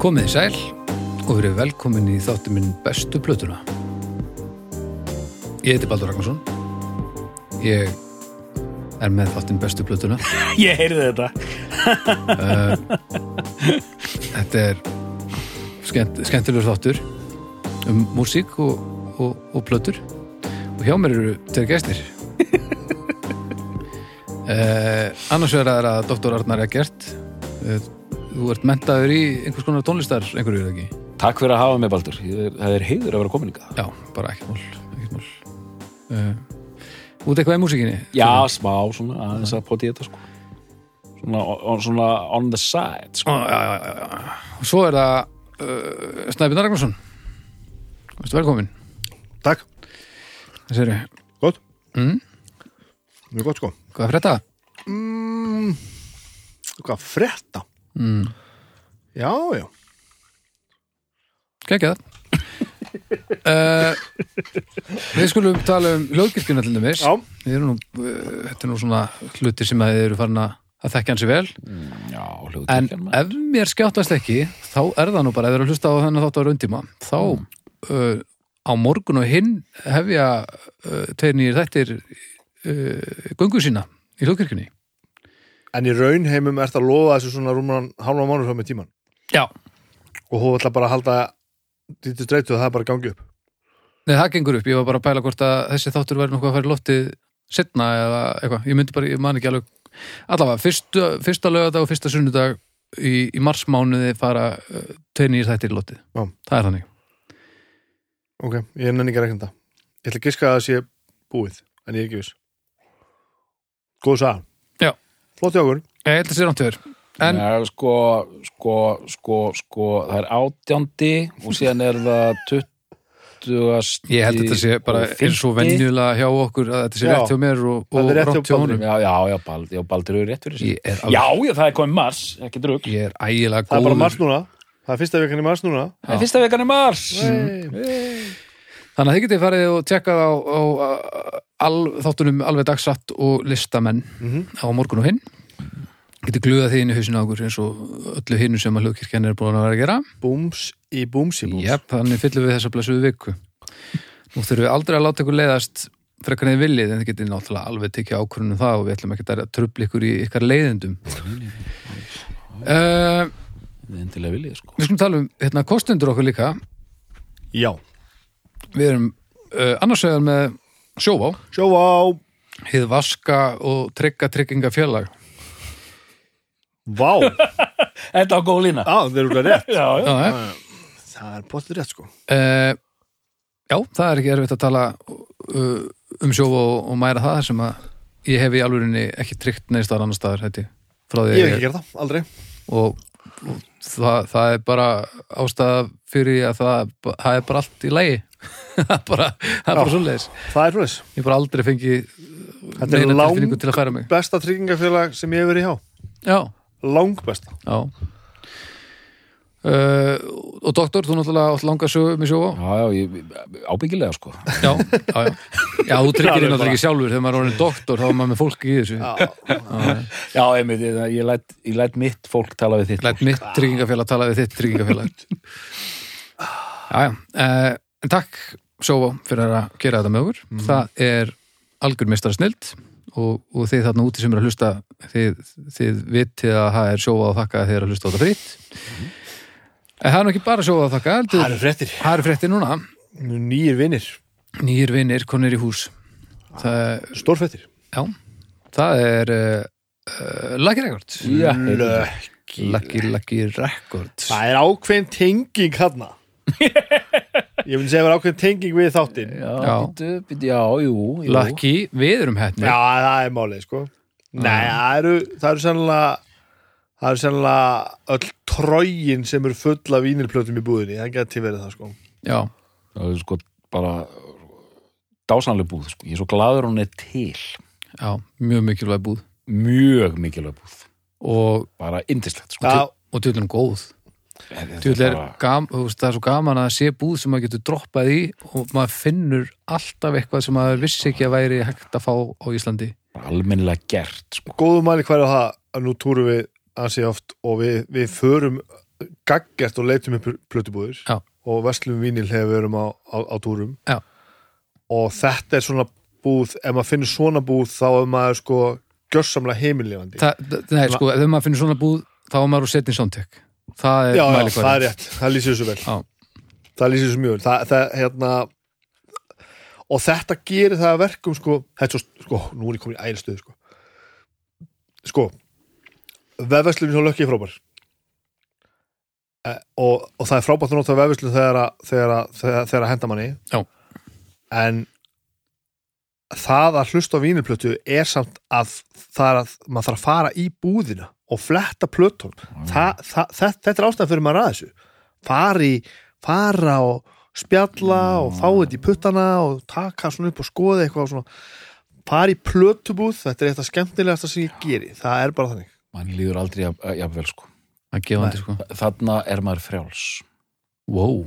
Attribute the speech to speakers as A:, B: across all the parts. A: Komið í sæl og verið velkomin í þáttu minn bestu plötuna. Ég heiti Baldur Ragnarsson. Ég er með þáttinn bestu plötuna.
B: Ég heyrði þetta.
A: Þetta er skemmt, skemmtilegur þáttur um músík og, og, og plötur. Og hjá mér eru tveir gæstir. Eh, annars vegar er að doktor Arnar Eggert. Eh, þú ert mentaður í einhvers konar tónlistar einhverju er það ekki?
C: Takk fyrir að hafa mig, Baldur. Ég er- Það er heiður að vera komin ykkar.
A: Já, bara ekkert mál, ekkert mál. Uh, út eitthvað í músikinni?
C: Já, smá, svona, aðeins að poti í þetta, sko. Svona on, svona on the side, sko.
A: Ó, já, já, já, já. Og Svo er það uh, Snæbjörn Ragnarsson. Vestu velkomin.
D: Takk,
A: Þessi eru,
D: gott
A: Mm.
D: Mjög gott sko Mm,
A: hvað er frétta?
D: Hvað frétta?
A: Mm,
D: Já, já
A: Kekja það. Uh, við skulum tala um lögkirkjuna til dæmis.
D: Já,
A: Við erum nú, uh, þetta er nú svona hluti sem að þið eru farin að að þekkja hansi vel.
C: Já, hérna. hljóðu
A: En
C: tekjan maður.
A: ef mér skjáttast ekki, þá er það nú bara, ef þið eru að hlusta á þennan þáttu á raundíma, þá uh, á morgun og hinn hefja uh, tveir nýjir þættir uh, göngu sína í hljóðkirkjunni.
D: en í raunheimum ert að lofa þessu svona rúman hálfa mánu frá með tíman
A: Já.
D: og hún ætla bara að halda lítið streytu og það er bara að gangi upp
A: Nei, það gengur upp. Ég var bara að pæla hvort að þessi þáttur væri nokkuð að fara í loftið setna eða eitthvað. Ég myndi bara, ég man ekki alveg. Allavega, fyrstu, fyrsta lögadag og fyrsta sunnudag í, í marsmánuði fara uh, tveir nýjir þættir í loftið.
D: Já.
A: Það er þannig.
D: Ok, ég nenni ekki að rekna þetta Ég ætla að giska að það sé búið en ég er ekki viss Góð sá
A: Já.
D: Flott hjá okkur
A: Ég held að sé rámt fyrir. En,
C: Það er sko, sko, sko, sko, það er átjándi og síðan er það tuttugasti.
A: Ég held að þetta sé bara eins og venjulega hjá okkur að þetta sé
D: Já.
A: rétt hjá mér og,
D: Það
A: og
D: er rétt hjá
A: rámt hjá
D: Baldri.
A: honum.
C: Já, já, já, Baldur, já, Baldur er rétt fyrir sig.
A: Ég er,
C: Já,
A: alveg,
C: já, það er komið mars, ekki drugg.
A: ég er ægilega
D: Það er bara mars
A: góður.
D: núna Það er fyrsta vekan í mars núna
C: Það er fyrsta vegan er mars.
A: Þannig að þið getið farið og tjekkað á, á, á al, þáttunum alveg dagsatt og listamenn á morgun og hinn. Getið glöðað þið inn í hausinu á okkur eins og öllu hinnu sem að hlugkirkjan er búin að vera að gera.
D: Búms í búms í búms
A: Jep, þannig fyllum við þessa blessuðu viku. Nú þurfum við aldrei að láta ykkur leiðast frekar en þið viljið, en þið getið náttúrulega alveg tekið ákvörunum það og við ætlum ekki að trubla ykkur í ykkar leiðindum. Uh,
C: Það er endilega viljið, sko.
A: Við skulum tala um hérna, kostendur okkur líka.
D: Já
A: Við erum uh, annars vegar með sjóvá,
D: Sjóvá
A: hið vaska og trygga trygginga félag.
D: Vá Já,
C: Þetta á góð lína.
D: það er úrlega rétt
C: Já, já.
A: Já, já.
D: Það er bóttið rétt sko
A: Uh, já, það er ekki erfitt að tala uh, um sjóvá og, og mæra það sem að ég hef í alvörinni ekki tryggt neist þar annar staðar, hætti, frá því
D: Ég hef
A: að
D: ekki gert það, aldrei
A: og, og það, það er bara ástæða fyrir því að það, það er bara allt í lægi. það er bara, það er bara
D: Já.
A: svoleiðis.
D: Það er svoleiðis
A: Ég hef bara aldrei fengið
D: Þetta er
A: neina
D: lang-
A: tilfinningu til að færa mig.
D: besta tryggingafélag sem ég hef verið hjá
A: Já.
D: langbesta
A: Já uh, Og doktor, þú náttúrulega átt langa sögu með sjóa
C: Já, já, ég- ábyggilega, sko.
A: Já, já, já Já, þú tryggir þig náttúrulega ekki sjálfur þegar maður er orðin doktor þá er maður með fólki í þessu
C: Já, einmitt, ég, ég, læt, ég læt mitt fólk tala við þitt.
A: Læt mitt tryggingafélag tala við þitt tryggingafélag Já, já uh, En takk sjóa fyrir að gera þetta með okkur Það er algjör mistara snild og, og þið þarna úti sem eru að hlusta þið, þið vitið að það er sjóa að þakka að þið eru að hlusta á þetta frýtt En það er nú ekki bara sjóa að þakka heldur,
D: eru fréttir
A: það eru frétti núna
D: Nýjir vinnir,
A: Nýjir vinnir konir í hús Það,
D: stórfréttir
A: já, það er uh, uh, Lucky Record
C: Já, heyrðu.
A: Lucky, Lucky Record
D: Það er ákveðin tenging hérna Ég myndi segja að það er ákveðin tenging við þáttinn Já,
C: já,
A: Já.
C: býttu, býttu, já, jú, jú.
A: Lucky, við erum hérna
D: það er málið sko Nei, það eru, það eru sennilega Það eru sennilega öll trógin sem eru full af vínilplötum í búðinni Það geti verið það sko
A: Já,
C: Það er sko bara dásanlega búð, sko. Ég er svo gladur hún er til.
A: já, mjög mikilvæg búð
C: Mjög mikilvæg búð.
A: og,
C: Bara indislegt, sko.
D: Já,
A: og tjóðlega góð
C: Þetta er
A: tjóðlega er,
C: bara-
A: gam, þú veist, það er svo gaman að sé búð sem maður getur droppað í og maður finnur alltaf eitthvað sem maður vissi ekki að væri hægt að fá á Íslandi
C: bara almennilega gert, sko.
D: góðu mæli hverju á það að nú túrum við ansi oft og við, við förum gaggert og leitum upp plötubúðir
A: Já.
D: og verslum vínil hefur við erum á, á, á túrum
A: Já.
D: og þetta er svona búð ef maður finnir svona búð þá er maður sko gjörsamlega heimilifandi
A: Þa, nei, sko, ef maður finnir svona búð þá er maður úr setjum samtök það er
D: já, já,
A: mælikvarðinn.
D: það er rétt, það lýsir þessu vel
A: Já.
D: það lýsir þessu mjög vel það, það, hérna, og þetta gerir það að verkum sko, þetta er svo, sko, nú er ég komin í æri stöð sko, sko vefverslun hjá Lökki er frábær e, og, og það er frábært að nota vefverslun þegar að, þegar að, þegar, þegar að henda manni
A: Já.
D: en það að hlusta á vínilplötu er samt að það er að maður þarf að fara í búðina og fletta plötunum
A: Mm.
D: það, það, það, þetta er ástæðan fyrir maður að þessu fari, fara og spjalla og fá
A: Mm.
D: þetta í puttana og taka svona upp og skoða eitthvað og svona fara í plötubúð, þetta er eitthvað skemmtilegasta sem ég geri, það er bara þannig
C: mann líður aldrei jafn- jafnvel sko
A: það er gefandi sko
C: þarna er maður frjáls
A: wow.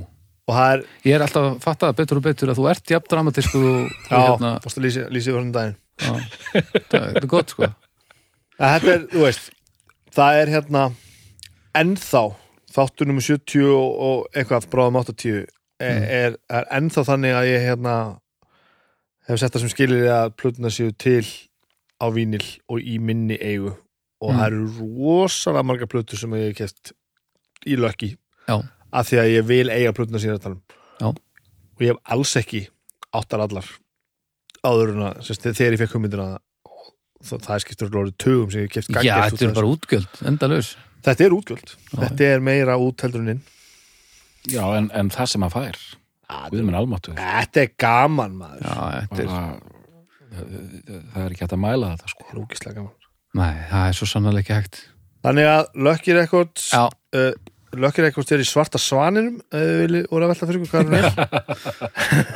D: og það er,
A: ég er alltaf að fatta það betur og betur að þú ert jafn dramatisk og, og
D: já,
A: hérna
D: fórstu að lýsi, lýsi fyrir daginn
A: já. það það er gott sko
D: að þetta er, þú veist það er hérna ennþá, þáttur nummer 70 og, og eitthvað bráðum 80 er,
A: Mm.
D: er, er ennþá þannig að ég hérna hef sett það sem skilir að plötuna séu til á vínil og í minni eigu og
A: Mm.
D: það eru rosalega marga plötur sem ég hef kæft í lökki
A: Já.
D: af því að ég vil eiga plötuna sína að tala um
A: Já.
D: og ég hef alls ekki áttar allar áður en að sem sagt, þegar ég fekk hugmyndina það, það er skiptur orðið tugum sem ég hef kæft
A: já, þetta er bara útgjöld, endalaus
D: þetta er útgjöld
A: Já.
D: þetta er meira útheldruninn
C: já, en, en það sem maður fær við minn almáttu
D: þetta er gaman maður
A: já, þetta er,
C: bara, eh, það er ekki hægt að mæla þetta sko
D: Þetta er ógeðslega gaman
A: nei, það er svo sannarlega ekki hægt
D: þannig að Lucky Records
A: já,
D: uh, Lucky Records er í svarta svaninum uh, vilji voru að velta fyrir ykkur hvað hún er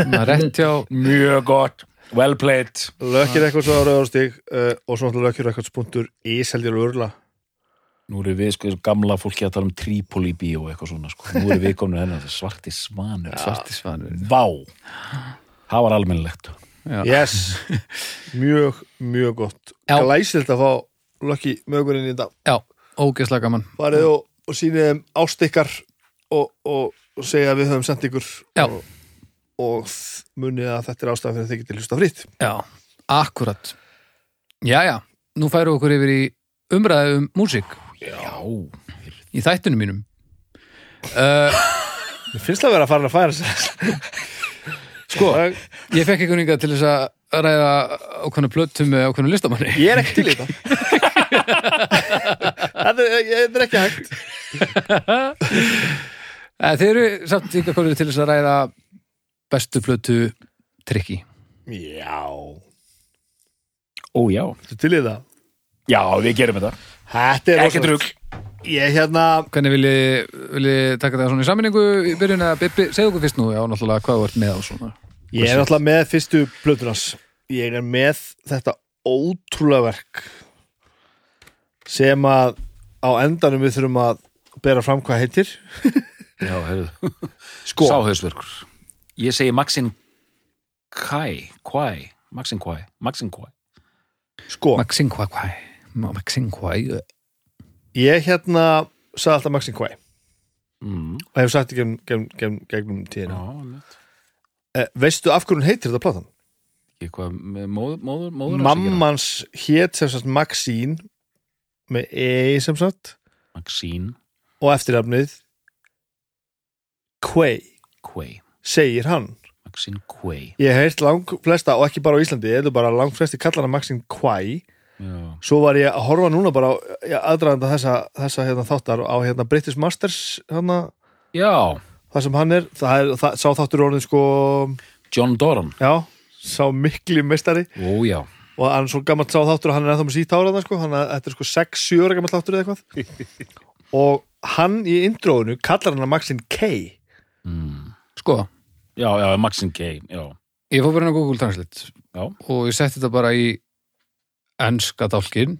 A: það er rétt hjá
C: mjög gott, well played
D: Lucky Records á Rauðarstíg uh, og svo náttúrulega luckyrecords.is held ég alveg örla
C: nú eru við sko gamla fólki að tala um Tripoli bíó og eitthvað svona sko, nú eru við komin hennar svarti svanur
A: svartisvanur
C: vá, það var almennilegt
A: já,
D: yes, mjög, mjög gott
A: Já.
D: glæsilegt að fá Lucky mögurinn í þetta
A: já ógeðslega gaman
D: farið og, og sýnið þeim ást ykkar og, og, og segja að við höfum sendt ykkur
A: Já.
D: og, og þ- munið að þetta er ástæðan fyrir að þið getið hlusta fritt
A: Já, akkurat Jæja, nú færum við okkur yfir í umræðu um músík
C: já,
A: í þættunum mínum uh,
D: Mér finnst það að vera að fara að færa sér Sko,
A: Ég fekk einhvern veginn til þess að ræða ákveðna plötum með ákveðna listamanni
D: ég er ekki til í þetta Þetta er, ég- þetta er ekki hægt
A: Eh, Þeir eru samt ykkar konur til þess að ræða bestu plötu trikki
D: Já
C: ó já
D: Þetta er til í þetta
C: já, við gerum þetta,
D: Þetta er
C: ekki drugg
D: Ég hérna
A: Hvernig viljið vilji taka það svona í sammenningu í byrjun að Bibbi, segðu okkur fyrst nú já, náttúrulega hvað þú ert með á svona
D: Ég er náttúrulega með fyrstu plötunars Ég er með þetta ótrúlega verk sem að á endanum við þurfum að bera fram hvað heitir
C: já, heyrðu,
D: Sko,
C: sáhausverkur ég segi Maxin Kai, Kwai Maxin Kwai, Maxin Kwai
D: sko
A: Maxine Kwai Kwai Maxine Kwai
D: ég hérna sagði alltaf Maxin Quay
C: mm.
D: og hef sagt í gegn, gegn, gegn, gegnum tíðina
C: já,
D: eh, Veistu af hverju hún heitir þetta platan?
C: ekki hvað með móður, móður, móður
D: Mammans hét sem sagt Maxín með E sem sagt
C: Maxine
D: og eftirnafnið Quay
C: Quay
D: segir hann
C: Maxine Quay
D: Ég hef heilt lang flesta og ekki bara á Íslandi eða bara lang flesti kallana Maxín Quay
C: já,
D: svo var ég að horfa núna bara á aðdraðanda þessa, þessa hérna, þáttar á hérna British Masters hana,
C: já
D: það sem hann er það er, það, sá þáttur orðin sko
C: John Doran
D: já, sá mikli mestari
C: ó já,
D: og hann er svo gammalt sá þáttur og hann er ennþá með sítt áraðan sko, hann er, þetta er sko 6-7 ára gammalt þáttur eða eitthvað og hann í indróinu kallar hann að Maxin K
C: mm.
A: Sko,
C: já, já, Maxine K já,
A: ég fór bara inn á Google Translate
C: já,
A: og ég setti þetta bara í ennska dálkin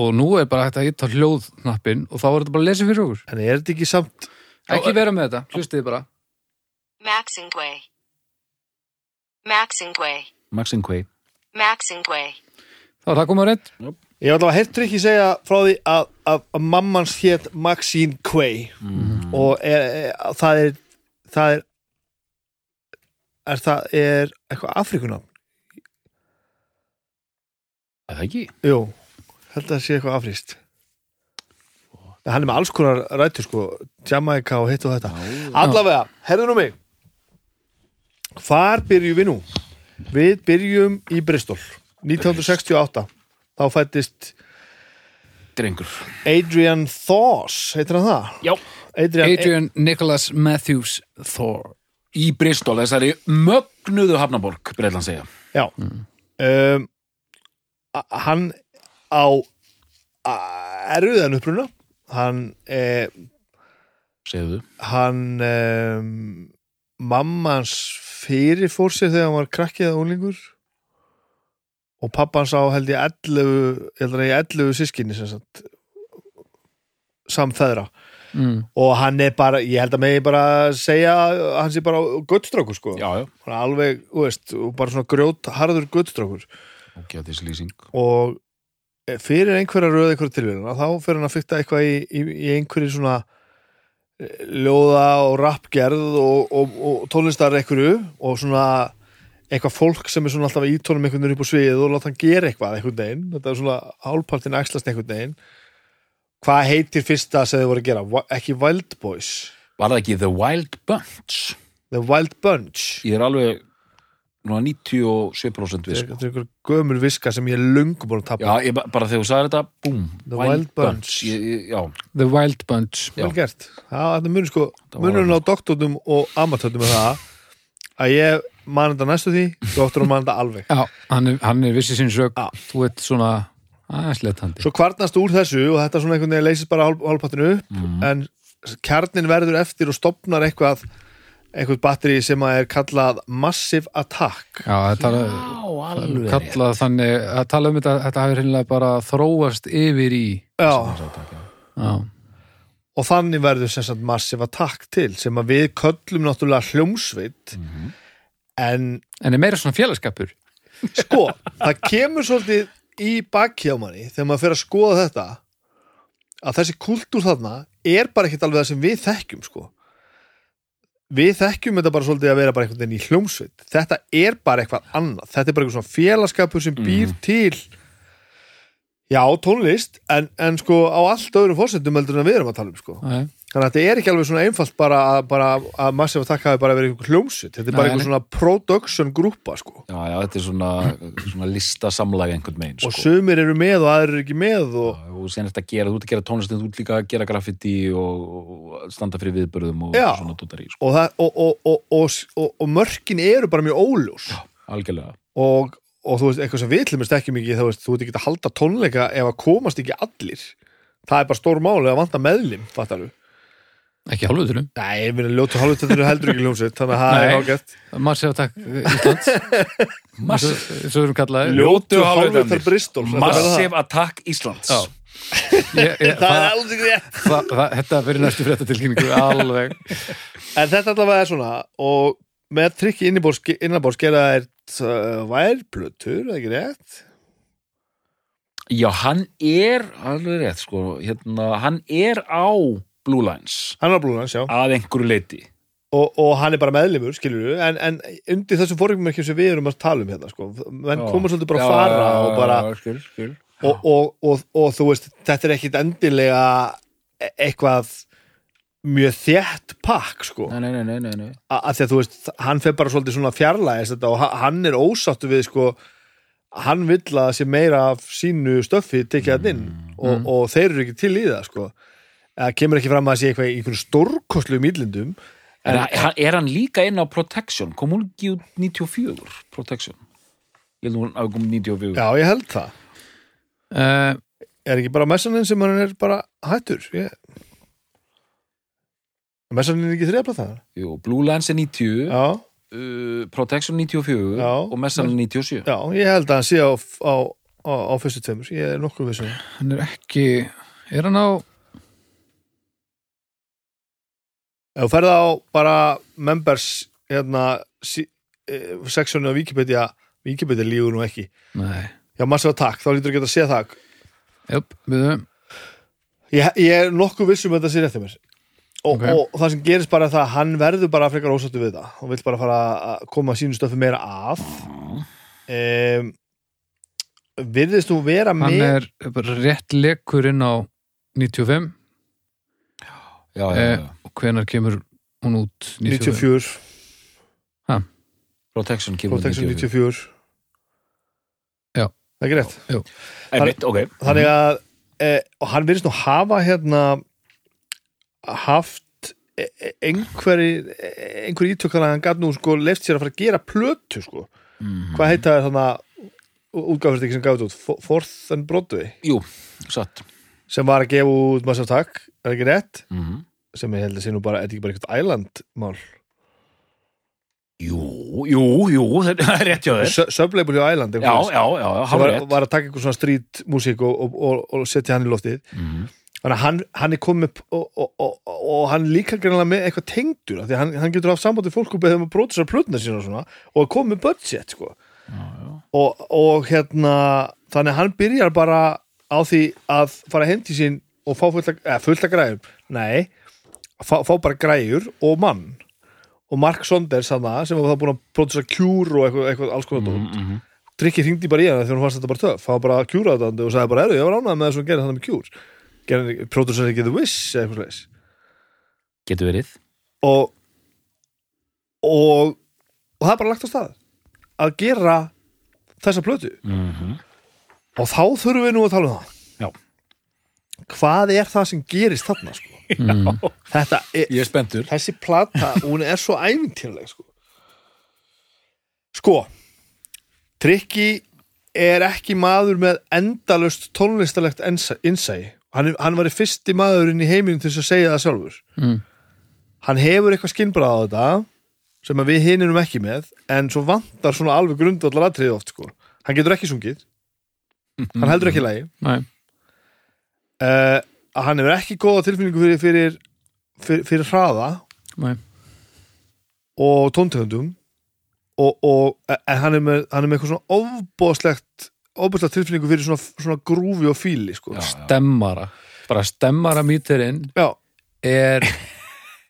A: og nú er bara hægt að hitta hljóðnappin og þá er þetta bara að lesa fyrir okkur
D: en er þetta ekki samt
A: ekki vera með þetta, hlustið bara
B: Maxingway. Maxingway.
C: Maxine Quay
B: Maxingway.
A: þá er það komað reynd
D: ég var alltaf að heyrt trikki segja frá því að, að, að mammans hét Maxine Quay
C: mm.
D: og er, er, það er það er er það er eitthvað Afrikunam
C: Er það ekki?
D: jú, held að það sé eitthvað afríst en hann er með alls konar rættu sko, Jamaica og hitt og þetta allavega, herðu nú mig hvar byrjum við nú? við byrjum í Bristol 1968 þá fættist
C: Drengur.
D: Adrian Thors heitir hann það?
C: Já.
D: Adrian, e-
A: Adrian Nicholas Matthews Thor
C: Í Bristol, þessari mögnuðu hafnaborg, breyðlan segja.
D: Já um, a- Hann á a- erfiðan uppruna hann, eh,
C: Segðu.
D: hann um, mamma hans fyrir fór sér þegar hann var krakkið að úlingur og pappa hans á held ég 11, ég held að ég 11 sískinni sem sagt samfæðra
A: mm.
D: og hann er bara, ég held að megi bara segja að hann sé bara guttstrákur sko
C: Já, já.
D: Bara alveg, þú veist, og bara svona grjót harður guttstrákur
C: Ok, þetta er slýsing.
D: og fyrir einhverja röð einhverja tilvíðuna, þá fyrir hann að fykta eitthvað í, í, í einhverju svona eh, ljóða og rappgerð og, og, og tónlistar einhverju og svona eitthvað fólk sem er svona alltaf í tónum einhvern veginn upp á svið og láta hann gera eitthvað einhvern veginn, þetta er svona hálpartin æxlast einhvern veginn hvað heitir fyrsta sem þið voru að gera Wi- ekki Wild Boys,
C: Var það ekki The Wild Bunch?
D: The Wild Bunch
C: Ég er alveg núna 97% við, sko.
D: þetta er einhver gömur viska sem ég er lungum búin að
C: Já,
D: tapa
C: ég, ba- bara þegar þú sagði þetta, búm.
D: The Wild Bunch.
C: Ég, ég, já,
A: The Wild Bunch
C: já.
D: vel gert það þetta munur sko,
C: Það var
D: munurinn á doktornum og amatöndum er það að ég man þetta næstu því doktornum man þetta alveg
A: Já, hann er, hann er vissi sín sög
D: Já.
A: þú ert svona aðeins letandi
D: svo kvarnast úr þessu og þetta svona einhvern veginn leysist bara hálf, hálfpattinu upp en kjarnin verður eftir og stopnar eitthvað eitthvað batteri sem að er kallað Massive Attack
A: Já, þetta er
C: alveg.
A: kallað þannig að tala um þetta, þetta hafi hreinlega bara þróast yfir í
D: Já,
A: Já,
D: og þannig verður sem sagt Massive Attack til sem að við köllum náttúrulega hljómsveit en
A: en er meira svona félagskapur
D: sko, það kemur svolítið í bakkjámanni þegar maður fer að skoða þetta að þessi kultúr þarna er bara ekkert alveg það sem við þekkjum sko. við þekkjum þetta bara svolítið að vera bara einhvern veginn í hljómsveit þetta er bara eitthvað annað þetta er bara eitthvað svona félagskapur sem býr
A: Mhm.
D: til já, tónlist en, en sko á allt öðrum fórsendum heldur en að við erum að tala um sko.
A: Já, já.
D: þannig að þetta er ekki alveg svona einfalt bara, að- bara að massið að taka hafi bara verið einhver hljómsveit þetta er bara
A: Nei,
D: einhver svona production grúpa sko.
C: Já, já, þetta er svona, svona listasamlag einhvern megin, sko.
D: og sumir eru með og aðrir eru ekki með og
C: og sen eftir að gera, þú ert að gera tónlist en þú ert líka að gera graffiti og, og standa fyrir viðbörðum og
D: Já.
C: svona tóttar í sko.
D: og, það, og, og, og, og, og, og mörkin eru bara mjög óljós
C: algjörlega,
D: og, og þú veist, eitthvað sem við tlumist ekki mikið þú veist, þú ert ekki að halda tónleika ef að komast ekki allir það er bara stór máli að vanta meðlim fattar þú?
A: ekki hálfuturum
D: Nei, ég meina ljótu hálfutöndinu heldur ekki ljómsveit þannig að það er
A: Nei.
D: ágætt
A: Massive Attack Íslands Massive Svo erum kallaði
C: Ljótu hálfvitarnir.
D: hálfutöndar Bristol þetta verður það.
C: Massive Attack Íslands
A: Já. ég, ég,
D: það er
A: það,
D: alls ekki rétt
A: það, það, Þetta fyrir næstu fréttatilkynningu alveg
D: En þetta allavega er svona og með trikki innibors, innabors gera þær uh, værplötur, eða ekki rétt?
C: Já, hann er alveg rétt, sko, hérna, hann er á Blue Lines
D: Hann var blúin hans, já.
C: að einhverju leiti
D: og, og hann er bara meðlimur, skilur við en, en undir þessum forrykjumerkjum sem við erum að tala um hérna, sko, menn koma svolítið bara að fara og bara,
C: já, skil, skil.
D: og, og, og, og þú veist, þetta er ekkit endilega e- eitthvað mjög þétt pakk, sko
C: Nei, nei, nei, nei, nei, nei.
D: A- af því að þú veist, hann fer bara svolítið svona fjarlæðis þetta og ha- hann er ósáttu við, sko hann vill að það sé meira af sínu stöffi tekið hann inn
C: Mm,
D: og, og þeir eru ekki til í það, sko það kemur ekki fram að það sé eitthvað í einhvern stórkostlu mýlindum
C: Er, hann- er hann líka inn á Protection kom hún ekki út 94 Protection ég held að hún hafi komið 94
D: Já, ég held það
A: uh,
D: er ekki bara messaninn sem hann er bara hættur ég... messaninn er ekki þriða platan
C: Jú, Blue Lines er 90
D: já,
C: uh, Protection 94
D: Já.
C: og Messan 97
D: já, ég held að hann sé á, á, á, á fyrstu tveimur, ég er nokkuð um vissum
A: Hann er ekki Er hann á
D: ef þú ferð á bara members hérna sí, e, seksjónu á Wikipedia Wikipedia lígur nú ekki,
A: Nei
D: já, massið á takk þá lítur ekki að sé það
A: Jöp, við
D: ég, ég er nokkuð vissum að þetta um sé rétt hjá mér og,
A: Ok.
D: og, það sem gerist bara er það að hann verður bara frekar ósáttu við það og vill bara fara að koma sínu stöfi meira að um, virðist þú vera
A: hann
D: með
A: er bara rétt lekur inn á 95
C: já, já,
A: Eh,
C: já.
A: og hvenar kemur hún út 95?
D: 94,
C: Protection kemur
D: Protection
C: 94
D: 94
A: Já. Mhm.
D: það er ekki rétt
C: Einmitt, ok
D: þannig að e, og hann virðist nú hafa hérna haft e- e- einhverji einhverji ítökkan að hann gaf nú sko leift sér að fara að gera plötu sko
C: mm.
D: hvað heita það þannig að útgáfist ekki sem gafið út Fo- Forth and Broadway
C: Jú, satt
D: sem var að gefa út Massive Attack, er ekki rétt
C: mm.
D: sem ég held að sé nú bara, er þetta ekki bara eitthvað Island mál,
C: Jú, jú, jú, það er rétt hjá þér
D: Sö- Sublevel í Island
C: Já, já, já, já,
D: hann
C: hann
D: var,
C: er rétt
D: var að taka eitthvað svona street músík og, og, og, og setja hann í loftið
C: Mhm.
D: þannig að hann, hann er komið upp og, og, og, og, og hann líka greinlega með eitthvað tengdur af því að hann, hann getur haft sambandi fólk og beðið um að bróta sér plötna sína og svona og er komið með budget sko. og, og hérna þannig að hann byrjar bara á því að fara heim til sín og fá fullta, eða, fullta græjur nei, fá, fá bara græjur og mann og Mark Sonders hann það sem var það búin að bróta sér kjúr og eitthvað, eitthvað alls konar dót Drikki hringdi bara í hana þegar hún fannst þetta bara töff hann var bara kjúraðandi og sagði bara "Heyrðu, ég var ánægð með það sem hún gerði þannig með kjúr gerði pródusar ekki The Wish eða eitthvað slags
C: Getur verið
D: og, og og það er bara lagt á stað að gera þessa plötu
C: Mhm.
D: og þá þurfum við nú að tala um það
C: Já.
D: hvað er það sem gerist þarna sko? þetta er,
C: Ég er spenntur
D: þessi plata, hún er svo ævintýrleg sko sko Tryggi er ekki maður með endalust tónlistalegt ensa- innsæi hann, er- hann var í fyrsti maðurinn í heiminum til þess að segja það sjálfur
A: Mm.
D: hann hefur eitthvað skinnbrað á þetta sem að við hininum ekki með en svo vantar svona alveg grundvallar atriði oft sko hann getur ekki sungið hann heldur ekki lægi
A: Nei.
D: uh, hann hefur ekki góða tilfinningu fyrir fyrir, fyrir, fyrir hraða
A: Nei.
D: og tóntegundum og, og e, en hann er með, hann er með eitthvað svona ofbóðslegt ofbóðslegt tilfinningu fyrir svona, svona grúfi og fíli sko.
C: Já, já.
A: stemmara bara stemmara mítirinn
D: Já,
A: er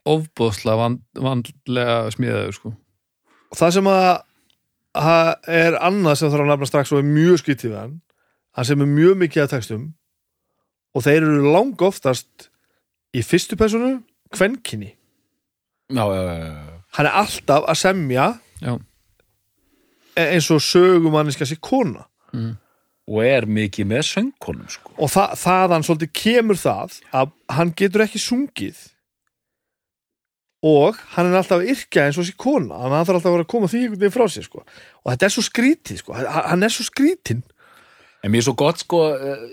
A: ofbóðslega vand, vandlega smíðaður sko.
D: og það sem að það er annað sem þarf að nafna strax og er mjög skytið við hann hann sem er mjög mikið að textum og þeir eru lang oftast í fyrstu personu kvenkinni
C: Já, já, já, já
D: hann er alltaf að semja
A: Já.
D: e- eins og sögumanniska sér kona
C: og er mikið með söngkonum sko.
D: og þa þaðan svolítið kemur það að hann getur ekki sungið og hann er alltaf að yrkja eins og þessi kona þannig að hann þarf alltaf að vera að koma því einhvern veginn frá sér sko. og þetta er svo skrítið sko. Hann- hann er svo skrítin
C: en mér er svo gott sko eh,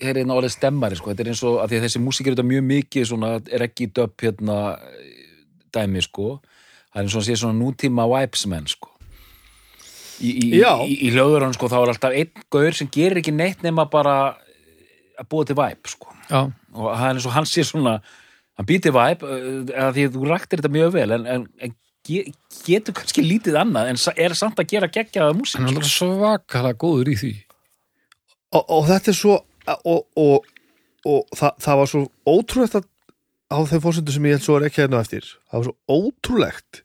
C: hér er einn orðið stemmari sko. þetta er eins og að því að þessi músík er þetta mjög mikið svona, er ekki döpp hérna eh, dæmi sko það er eins og hann sé svona nútíma væpsmenn sko í, í, í,
D: Já.
C: í, í hljóðurinn sko þá er alltaf einn gaur sem gerir ekki neitt nema bara eh, að búa til væp sko
A: já,
C: og það er eins og hann sé svona hann býtir væp að eh, því að þú raktir þetta mjög vel en, en, en ge- getur kannski lítið annað en sa- er samt að gera geggjaða músík
A: hann er
C: sko.
A: alveg svakalega góður í því
D: og, og þetta er svo og, og, og það, það var svo ótrúlegt að á þeim fórsöndu sem ég held svo er ekki hérna á eftir það var svo ótrúlegt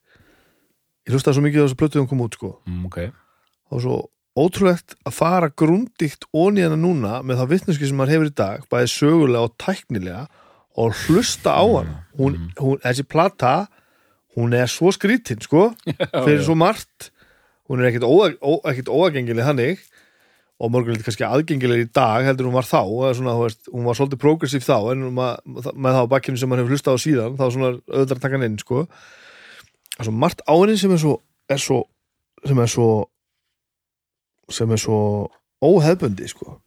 D: ég hlustaði svo mikið á þessu plötuðum kom út sko.
C: mm, ok,
D: það var svo ótrúlegt að fara grundíkt onni hennar núna með það vittneski sem maður hefur í dag bæði sögulega og tæknilega og hlusta á hann hún, hún, þessi plata hún er svo skrítin sko fyrir svo margt hún er ekkit, óa, ó, ekkit óagengileg hannig og morgun er kannski aðgengileg í dag heldur en hún var þá eða svona, þú veist, hún var svolítið progressív þá en mað, með þá bakkinu sem maður hefur hlustað á síðan þá er svona öðvitað að taka hann inn sko. það er svo margt á henni sem er svo, er svo sem er svo sem er svo óhefbundi sko.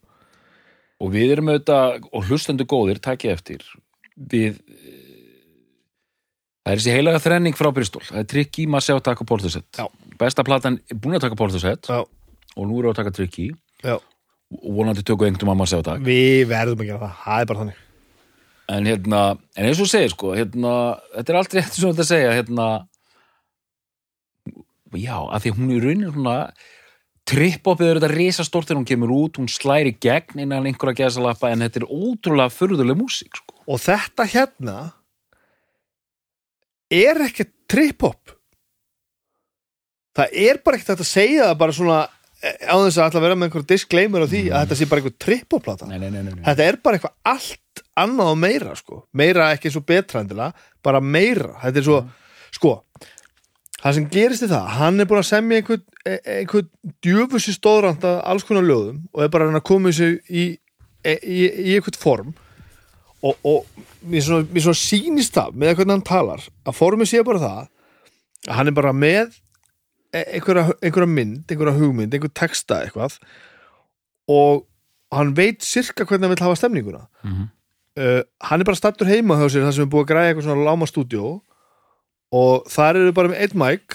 C: og við erum auðvitað og hlustendur góðir, takk ég eftir við eh, það er þessi heilaga þrenning frá Bristol það er Tricky, Massi og taka Portisett
D: Já.
C: besta platan er búin að taka Portisett
D: Já.
C: og nú eru að taka Tricky
D: Já.
C: og vonandi tökum einhvern mamma að segja takk
D: við verðum að gera það, það er bara þannig
C: en hérna, en eins og þú segir sko hérna, þetta er aldrei eftir sem þetta segja hérna já, að því að hún í raunin svona trippopið er þetta risastórt þegar hún kemur út, hún slæri gegn innan einhverja gæðsalappa en þetta er ótrúlega furðuleg músík sko
D: og þetta hérna er ekkert trip-hop það er bara ekkert hægt að segja það bara svona eh, á þess að ætla að vera með einhver disclaimer á því að þetta sé bara einhver trip-hop-plata
C: nei, nei, nei, nei, nei.
D: þetta er bara eitthvað allt annað og meira sko. meira ekki svo betra endilega bara meira, þetta er svo sko, það sem gerist í það hann er búin að semja einhvern e- einhvern djöfusi stóðrand að alls konar lögum og er bara að reyna að koma þessu í, í, í, í einhvern form og, og mér svona, mér svona sýnist það með hvernig hann talar að formið sé bara það að hann er bara með e- einhverja, einhverja mynd, einhverja hugmynd einhver texta eitthvað og hann veit sirka hvernig hann vil hafa stemninguna uh, hann er bara stattur heima hjá sér þar sem er búið að græja eitthvað svona láma stúdíó og þar eru bara með einn mæk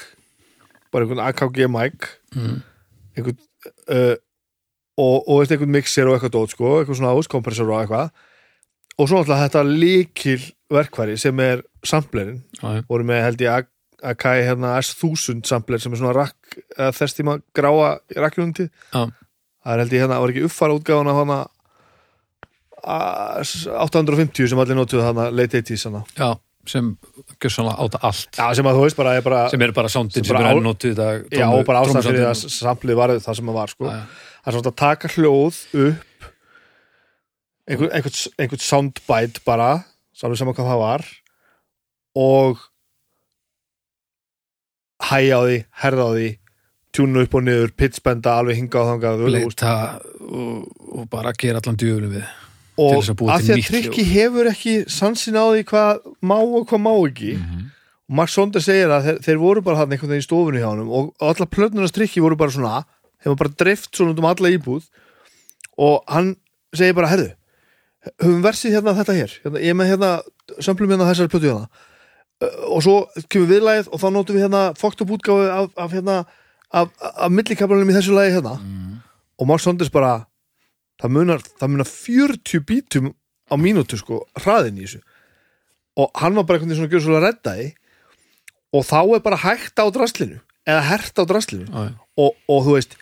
D: bara einhvern AKG mæk
A: Mhm.
D: einhvern uh, og, og veist, einhvern mixer og eitthvað dót sko, eitthvað svona áskompressor og eitthvað og svo alltaf þetta líkil verkfæri sem er samplerinn
A: Já, já.
D: voru með held ég A- Akai hérna S1000 sampler sem er svona rakk eða þess tíma gráa rakkjónundi
A: Já.
D: það er held ég hérna, var ekki uppfara útgáfana hana a- s- 850 sem allir notuðu hana late 80s hana
A: já, sem gjössanlega áta allt
D: já, sem að þú veist bara, er bara
A: sem er bara soundin
D: Sem
A: sem
D: bara
A: er
D: á-
A: enn notuð í dag
D: já,
A: tónlu-
D: og bara ástæðan fyrir
A: trómusoundin.
D: að samplið var það sem það var sko.
A: Já, já.
D: það er svona að taka hljóð upp einhvern einhver, einhver soundbite bara samlega saman hvað það var og hæja á því, herða á því tjúna upp og niður, pitchbenda alveg hinga á þangað þú veist.
A: leita og, og bara gera allan djöfulum við til
D: og
A: þess að búa
D: að
A: til
D: því að
A: nýtt
D: Tryggi hefur ekki sansin á því hvað má og hvað má ekki og Mark Sonder segir að þeir, þeir voru bara hann einhvern veginn í stofunni hjá honum og og allar plötnunars trikki voru bara svona þeir var bara dreift svona út um alla íbúð og hann segir bara herðu, höfum versið hérna þetta hér hérna, ég er með hérna, samplum hérna þessari plötu hérna Ö, og svo kemur viðlægið og þá notum við hérna fókt upp útgáfu af, af hérna af, af millikablanum í þessu lagi hérna og Mark Saunders bara það munar, það munar 40 bítum á mínútu sko, hraðin í þessu og hann var bara einhvern veginn svona gjöðsvolega reddaði og þá er bara hægt á draslinu eða hert á draslinu
A: Já, já.
D: og, og þú veist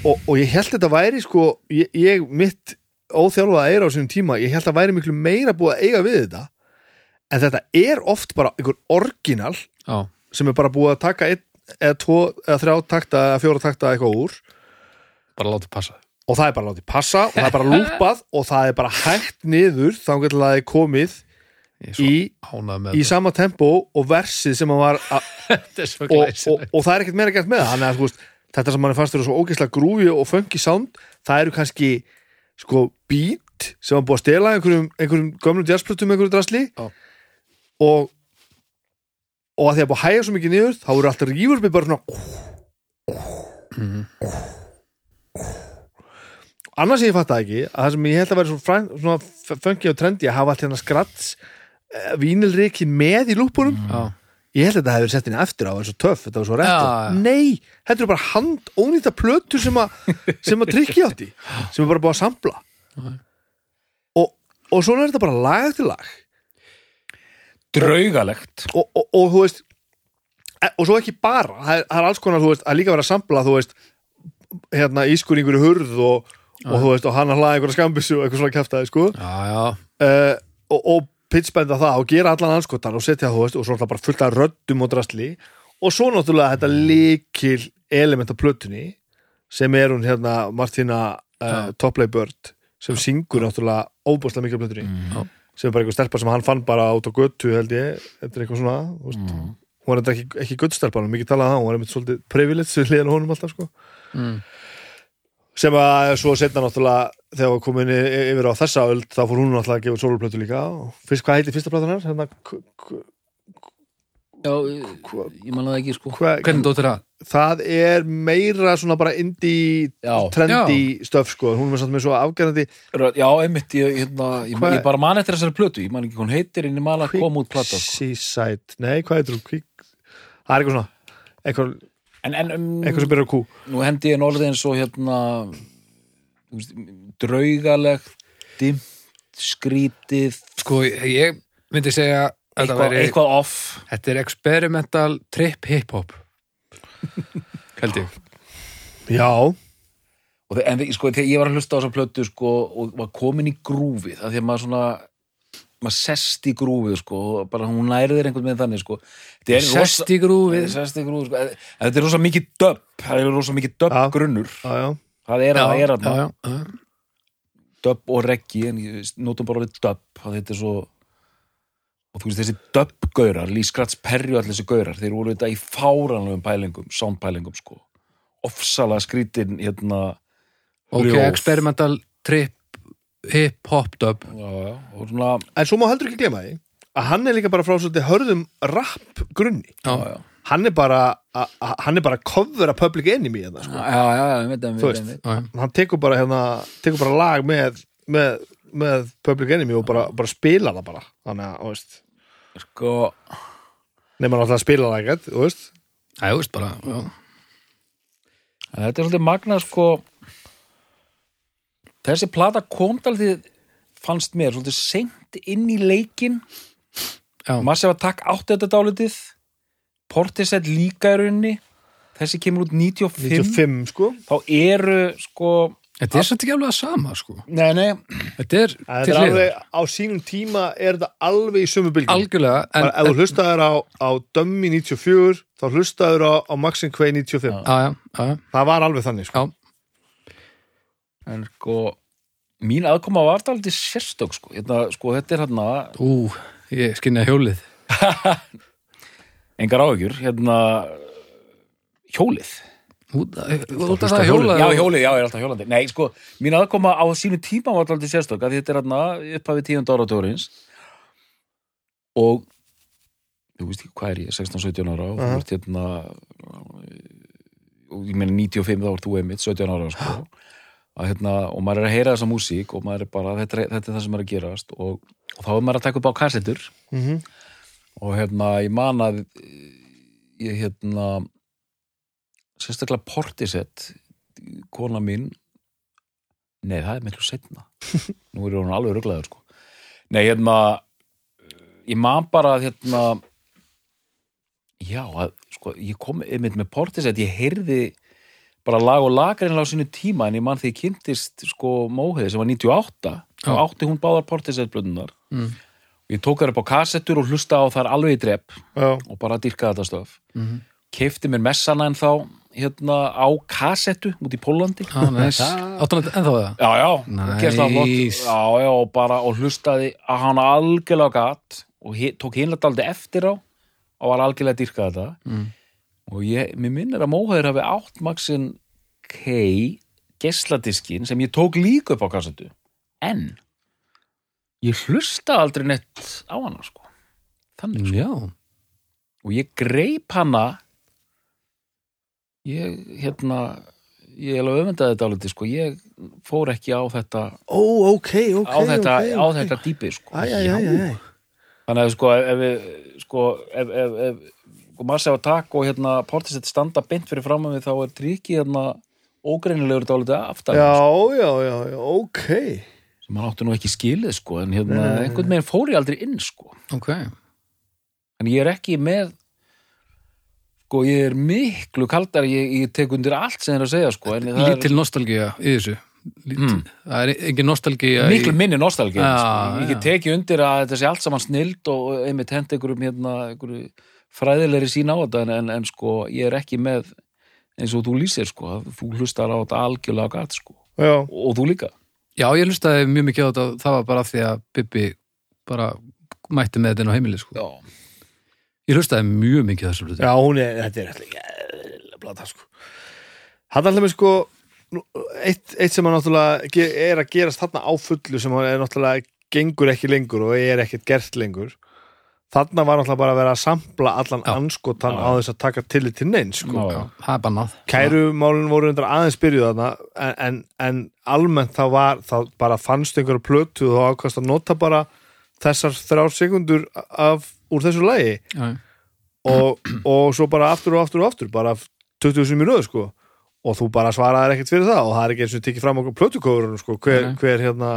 D: og, og ég held þetta væri sko ég, ég mitt óþjálfaða eira á þessum tíma, ég held að væri miklu meira búið að eiga við þetta en þetta er oft bara einhver orginal
A: já,
D: sem er bara búið að taka einn eða tvo, eða þrjá takta eða fjóra takta eitthvað úr
A: bara láta passa
D: og það er bara látið passa og það er bara lúpað og það er bara hægt niður þá getur það er komið
A: ég er
D: í,
A: svo ánað með
D: í sama tempo og versið sem hann var að,
A: þetta er svo
D: og, og, og það er ekkert meira gert með það þannig að þú veist, þetta sem hann fannst eru svo ógeðslega grúfi og funky sound það eru kannski sko beat sem hann búið að stela einhverjum, einhverjum gömlum jazzplutum einhverju drasli
A: Já.
D: og og að því að búið að hæja svo mikið niður þá eru alltaf rífur með bara svona annars sem ég fatt ekki að það sem ég held að vera svona, fræn, svona funky og trendi að hafa allt hérna skrats vínilrikin eh, með í lúpunum
A: já,
D: ég held að þetta hefur sett inn eftir á það var svo töff, þetta var svo rétt
A: Já, já.
D: nei, þetta eru bara hand ónýta plötur sem að, sem að trykki átti sem er bara búið að sampla og, og svona er þetta bara lag eftir lag
C: draugalegt
D: og, og, og þú veist e- og svo ekki bara, það er, það er alls konar þú veist, að líka vera að sampla, þú veist hérna ískur einhverju hurð og, og þú veist, og hann að hlaða einhverja skambissu og eitthvað svona kæftaði, sko
A: já, já,
D: uh, og, og pitchbenda það og gera allan anskotan og setja þú veist og svo alltaf bara fullt af röddum og drasli og svo náttúrulega þetta líkil element af plötunni sem er hún hérna Martina uh, Topley Bird sem syngur náttúrulega óbúslega mikið af plötunni
A: já.
D: sem er bara einhver stelpa sem hann fann bara át á götu held ég, þetta er eitthvað svona þú veist, hún var þetta ekki, ekki göttstelpa hann mikið talað um það, hún var einmitt svolítið privilege sem hliðan á honum alltaf sko
A: Mm.
D: sem að svo setna náttúrulega þegar við komin í- yfir á þessa öld þá fór hún náttúrulega að gefa soloplötu líka og fyrst hvað heitir fyrsta platan hans? Hérna, k- k-
C: já, ég man það ekki sko
D: hvað-
A: hvernig dóttir það?
D: það er meira svona bara indie
C: Já.
D: trendy stöf sko, hún var samt með svo afgerðandi
C: Rödd- já, einmitt, ég, hérna, ég,
D: Hvað-
C: ég bara man eftir þessari plötu ég man ekki hvað hún heitir en ég man að koma út plata sko.
D: Seaside, nei hvað heitir hún? Quick... það er eitthvað svona eitthvað,
C: en, en um,
D: eitthvað sem byrjar á kú
C: nú hendi ég norðið eins og hérna þú veist, draugalegt dimmt, skrítið
A: sko, ég myndi segja að þetta
C: eitthvað,
A: væri-
C: eitthvað off
A: Þetta er experimental trip hip-hop held ég
D: já,
C: og þe- en þe- sko, þegar ég var að hlusta á þessa plötu sko, og var komin í grúfið af því að maður svona maður sest í grúfið sko, og bara hún nærðir einhvern veginn þannig sko. Þetta er rosa-
A: Sest í grúfið
C: sest í grúfið sko. En- en þetta er rosa mikið döpp það er rosa mikið döpp
D: Já.
C: grunnur
D: já, já,
C: það er að það er að
A: já, já.
C: döpp og reggi en ég notum bara orðið döpp að þetta er svo og þú veist þessi döppgaurar Lískrats Perri og allir þessi gaurar þeir voru þetta í fáranlegum pælingum soundpælingum sko ofsalega skrítin hérna
A: Ok,
C: ljóð.
A: experimental trip hip hop dub
C: já, já, og svona
D: en svo má heldur ekki glema því að hann er líka bara frá svolítið hörðum rap grunni
A: Já,
C: já, já,
D: hann er bara a, a, hann er bara að covera public enemy hérna, sko.
C: já, já, já, ég veit að
D: Þú
C: við
D: veist.
A: já, já.
D: hann tekur bara, hérna, tekur bara lag með, með, með public enemy og bara, bara spila það bara þannig að, þú veist
C: sko,
D: nema náttúrulega að spila það ekkert, þú veist
A: Já, þú veist bara já.
C: en þetta er svolítið magnað sko þessi plata kom daldið fannst mér svolítið seint inn í leikinn
A: Já.
C: Massive Attack átti þetta dálitið Portishead líka í rauninni þessi kemur út 95,
D: 95 sko
C: þá eru sko,
A: Þetta er samt ekki alveg að sama sko.
C: nei nei
A: Þetta er til
D: Þetta er
A: hliðar.
D: alveg, á sínum tíma er þetta alveg í sömu bylgjum
A: algjörlega en,
D: bara ef þú hlustaður á, á Dömmi 94 þá hlustaður á, á Maxin Quay 95
A: já, já, já, já,
D: það var alveg þannig sko
A: já,
C: en sko, mín aðkoma var dálitið sérstök sko, hérna, sko þetta er hérna,
A: ú, ég skinni hjólið
C: engar áhugjur hérna hjólið
A: út út af
D: hlusta
A: það
D: á
A: hjóla
C: Já, hjólið, já, ég er alltaf hjólandi Nei, sko, mín aðkoma á sínu tíma var alltaf sérstök að þetta er hann upphafi tíund ára tóriðins og þú veist ekki hvað er ég, 16-17 ára og
D: Aha.
C: þú ert hérna og ég meina 95 þá ert þú einmitt 17 ára, sko að, hérna, og maður er að heyra þessa músík og maður er bara, þetta er, þetta er það sem er að gerast og, og þá er maður að taka upp á kassetur
D: mm -hmm.
C: og hérna, ég man að ég hérna sérstaklega Portisett kona mín nei, það er miklu setna nú er hún alveg ruglaður sko nei, hérna eh, ég man bara að hérna já, að, sko, ég kom einmitt með Portisett, ég heyrði bara lag og lag reynilega á sínu tíma en ég man því ég kynntist sko Móheði sem var 98 þá
A: Já.
C: átti hún báðar Portisett blöðunar
A: Mm.
C: ég tók þær upp á kassettur og hlusta á þar alveg í drepp
D: já,
C: og bara dýrkaði þetta stöf
A: Mhm.
C: keifti mér messana en þá hérna á kassettu út í Pólandi
A: Já, næs. Áttu hann ennþá Ah, það?
C: já, já,
A: Nice.
C: gerst það flott já, já, og bara og hlustaði að hann algjörlega gatt og hi- tók hinlega aldrei eftir á og var algjörlega dýrkaði þetta
A: Mm.
C: og ég, mér minnir að móhaður hafi átt Maxin K gesladiskin sem ég tók líka upp á kassettu en ég hlusta aldrei neitt á hana sko þannig sko
A: Já,
C: og ég greip hana ég hérna ég alveg öfundaði þetta alveg sko. ég fór ekki á þetta
D: ó, ok, ok
C: á þetta,
D: ok,
C: á
D: ok.
C: þetta dýpi sko.
D: Æ, æ, æ, æ, æ.
C: þannig að sko ef- ef við sko ef, ef, ef sko, maður sefa takk og hérna portisett standa beint fyrir fram að við þá er tryggi hérna ógreinilegur dálítið aftan
D: já, já, já, já, ok
C: sem hann átti nú ekki skilið sko en hérna
D: Nei, nei, nei.
C: einhvern veginn fór ég aldrei inn sko
A: ok
C: en ég er ekki með sko ég er miklu kaldar ég, ég tek undir allt sem þeir að segja sko en það
A: Lítil nostalgía í þessu Lítil, Það er engin nostalgía
C: er Mm. miklu
A: í...
C: minni nostalgi
A: Já,
C: sko. ég
A: já.
C: get tekið undir að þetta sé allt saman snild og einmitt hent einhverjum hérna, einhverju fræðilegri sín á þetta en, en, en sko ég er ekki með eins og þú lýsir sko að þú hlustar á þetta algjörlega gatt sko
D: já,
C: og þú líka
A: Já, ég hlustaði mjög mikið á þetta og það var bara af því að Bibbi bara mætti með þetta inn á heimili sko.
C: já,
A: Ég hlustaði mjög mikið á þessu hluti
D: já, hún er, þetta er alltaf blata sko hann alltaf með sko nú, eitt, eitt sem hann náttúrulega ge- er að gerast þarna á fullu sem hann er náttúrulega gengur ekki lengur og er ekkert gert lengur þarna var náttúrulega bara að vera að sampla allan
A: Já.
D: anskotan
C: Já.
D: á þess að taka tillit til neins sko.
C: já,
A: Já, það er bannað
D: Kærumálin voru undir aðeins byrjuð þarna en, en, en almennt þá var þá bara fannst einhverju plötu og þá ákvæmst að nota bara þessar þrjár sekundur af, úr þessu lagi
A: Já, já.
D: og, og svo bara aftur og aftur og aftur bara 20.000 minúður sko og þú bara svaraðir ekkert fyrir það og það er ekki eins og tekið fram okkur plötukofurinn sko hver,
A: Nei.
D: hver hérna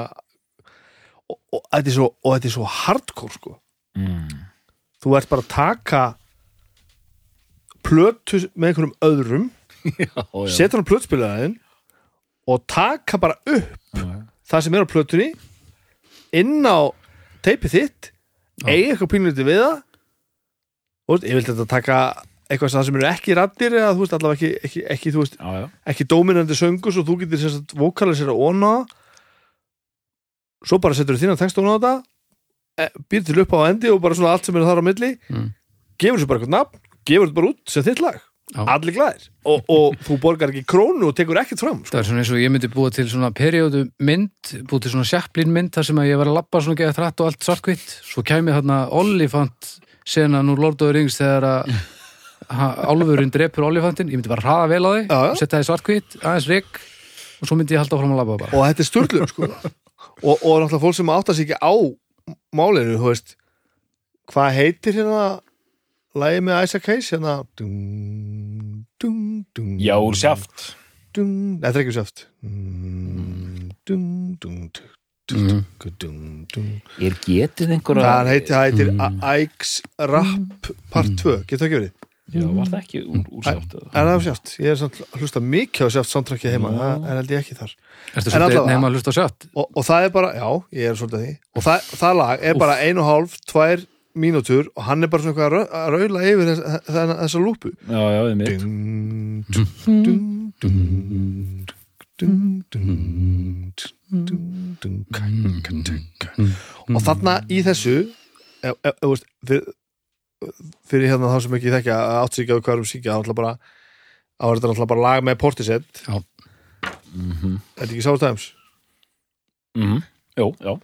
D: og, og, þetta er svo, og þetta er svo hardcore sko
C: mm.
D: þú ert bara að taka plötu með einhverjum öðrum
C: já, já.
D: setja hann á plötspilaðin og taka bara upp
C: Já, já.
D: það sem er á plötunni inn á teipið þitt eigi eitthvað pínlítið við það Þú veist, ég vildi þetta taka eitthvað sem það sem eru ekki raddir eða þú veist allavega ekki, ekki, ekki, þú veist,
C: já, já,
D: ekki dóminandi söngur svo þú getur sérst vokalisera óna svo bara setur þína texta óna á þetta eh, býr til upp á endi og bara svona allt sem er þar á milli
A: Mm.
D: gefur þessu bara eitthvað nafn gefur þetta bara út sem þitt lag
A: Já.
D: allir glæðir og, og þú borgar ekki krónu og tekur ekkert fram sko.
A: Það er svona eins og ég myndi búa til svona periodu mynd, búa til svona sjaplín mynd þar sem að ég var að labba svona geða þrætt og allt svartkvitt svo kæmi þarna Olifant senan úr Lord of the Rings þegar að ha- álfurinn drepur Olifantin ég myndi bara hraða vel á því,
D: Já, já.
A: setja því svartkvitt aðeins rigg og svo myndi ég halda áfram að labba bara.
D: og þetta er sturlum sko. og, og náttúrulega fólk sem áttar sig ekki á málinu, þú veist hvað heitir hérna lagið með Isaac Hayes hérna dung, dung, dung,
C: já, úr sjaft
D: dung, Nei, þetta er ekki úr sjáft dung, dung, dung, dung,
A: Mm.
D: dung, dung.
C: er getið einhverja
D: það heitir, það heitir Ike's Rap Part 2, getur það ekki verið
C: já, var það ekki úr, úr sjaft
D: er það á sjáft, ég er samt að hlusta mikið á sjáft samtrakki
C: Já.
D: heima, það er held ég ekki þar
A: Ertu
D: En
A: svolítið
D: allavega-
A: nefn að hlusta á sjátt?
D: og, og það er bara, já, ég er svolítið að því og það, það lag er bara ein og hálf, tvær mínútur og hann er bara svona eitthvað að rau- að raula yfir þess, þess, þessa lúpu
C: já, já, við mitt
D: Dun, dun, dun, dun, dun, dun, dun, dun, ka, ka, ka, ka. og þarna í þessu e, e, e, veist, fyrir, fyrir hérna þá sem ekki þekkja að átt sig ekki á hverjum síkja þá er náttúrulega bara þá er þetta náttúrulega bara lag með Portishead
A: Já.
D: Þetta ekki Sour Times
C: mm. já, já,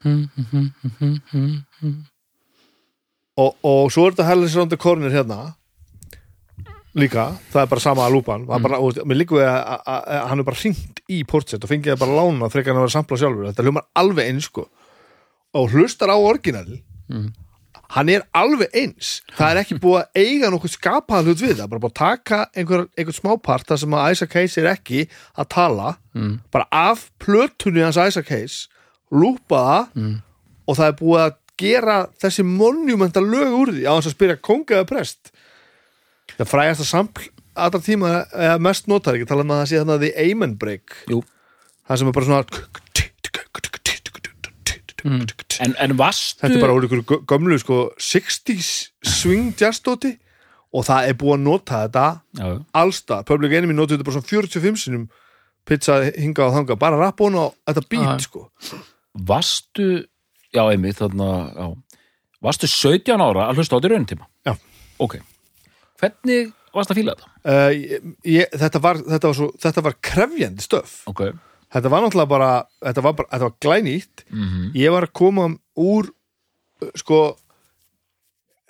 D: Mm. og, og svo er þetta Hellis Round the Corner hérna líka, það er bara sama að lúpan mm. bara, og, mér líku við að, að, að, að hann er bara hringt í portsett og fengið það bara lána frekar hann að vera samplað sjálfur, þetta hljómar alveg eins sko. og hlustar á orginal hann er alveg eins það er ekki búið að eiga nokkuð skapaðan hlut við það, bara búið að taka einhver, einhver smápart þar sem að Isaac Hayes er ekki að tala, bara af plötunni hans Isaac Hayes lúpa það og það er búið að gera þessi monumenta lög úr því á hans að spyrja konga eða prest það frægast að sampl allra tíma eða mest notar ekki tala um að það sé þarna the amen break
C: Jú.
D: það sem er bara svona
C: en, en vastu
D: þetta er bara úr ykkur gö- gömlu sko 60s swing jazzdóti og það er búið að nota þetta
C: já, já.
D: allstað, Public Enemy notið þetta bara svona 45 sinum pizza hinga og þanga, bara rapp hún á þetta
A: Já.
D: beat sko
C: vastu já, einmitt, þarna já. vastu 17 ára að hlusta á því raunum tíma
D: Já.
C: ok, hvernig varst að fíla þetta?
D: uh, ég, ég, þetta, var, þetta, var svo, þetta var krefjandi stöf
C: ok,
D: þetta var náttúrulega bara þetta var, bara, þetta var glænýtt
C: Mhm.
D: ég var að koma úr uh, sko e,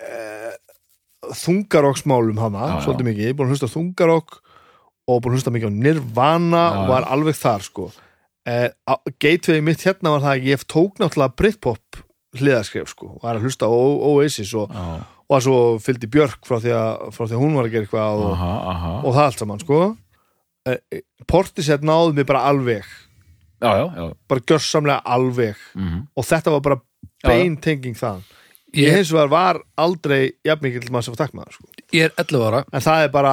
D: þungarokksmálum hana,
C: Já, já.
D: svolítið mikið, ég er búin að hlusta á þungarokk og búin að hlusta mikið á Nirvana
C: Já,
D: og
C: já.
D: var alveg þar sko e, gateway mitt hérna var það að ég tók náttúrulega Britpop hliðaskref sko, var að hlusta á O- Oasis og,
C: já,
D: og að svo fylgdi Björk frá því að, frá því að hún var að gera eitthvað og,
C: aha, aha
D: og það allt saman sko e, e, Portishead náði mig bara alveg
C: já, já, já,
D: bara gjörsamlega alveg
C: mhm
D: og þetta var bara
C: Já, já.
D: beintenging þaðan ég,
A: Ég,
D: hins vegar var aldrei jafn mikill maður sem var takkmaður sko.
A: ég er 11 ára
D: en það er bara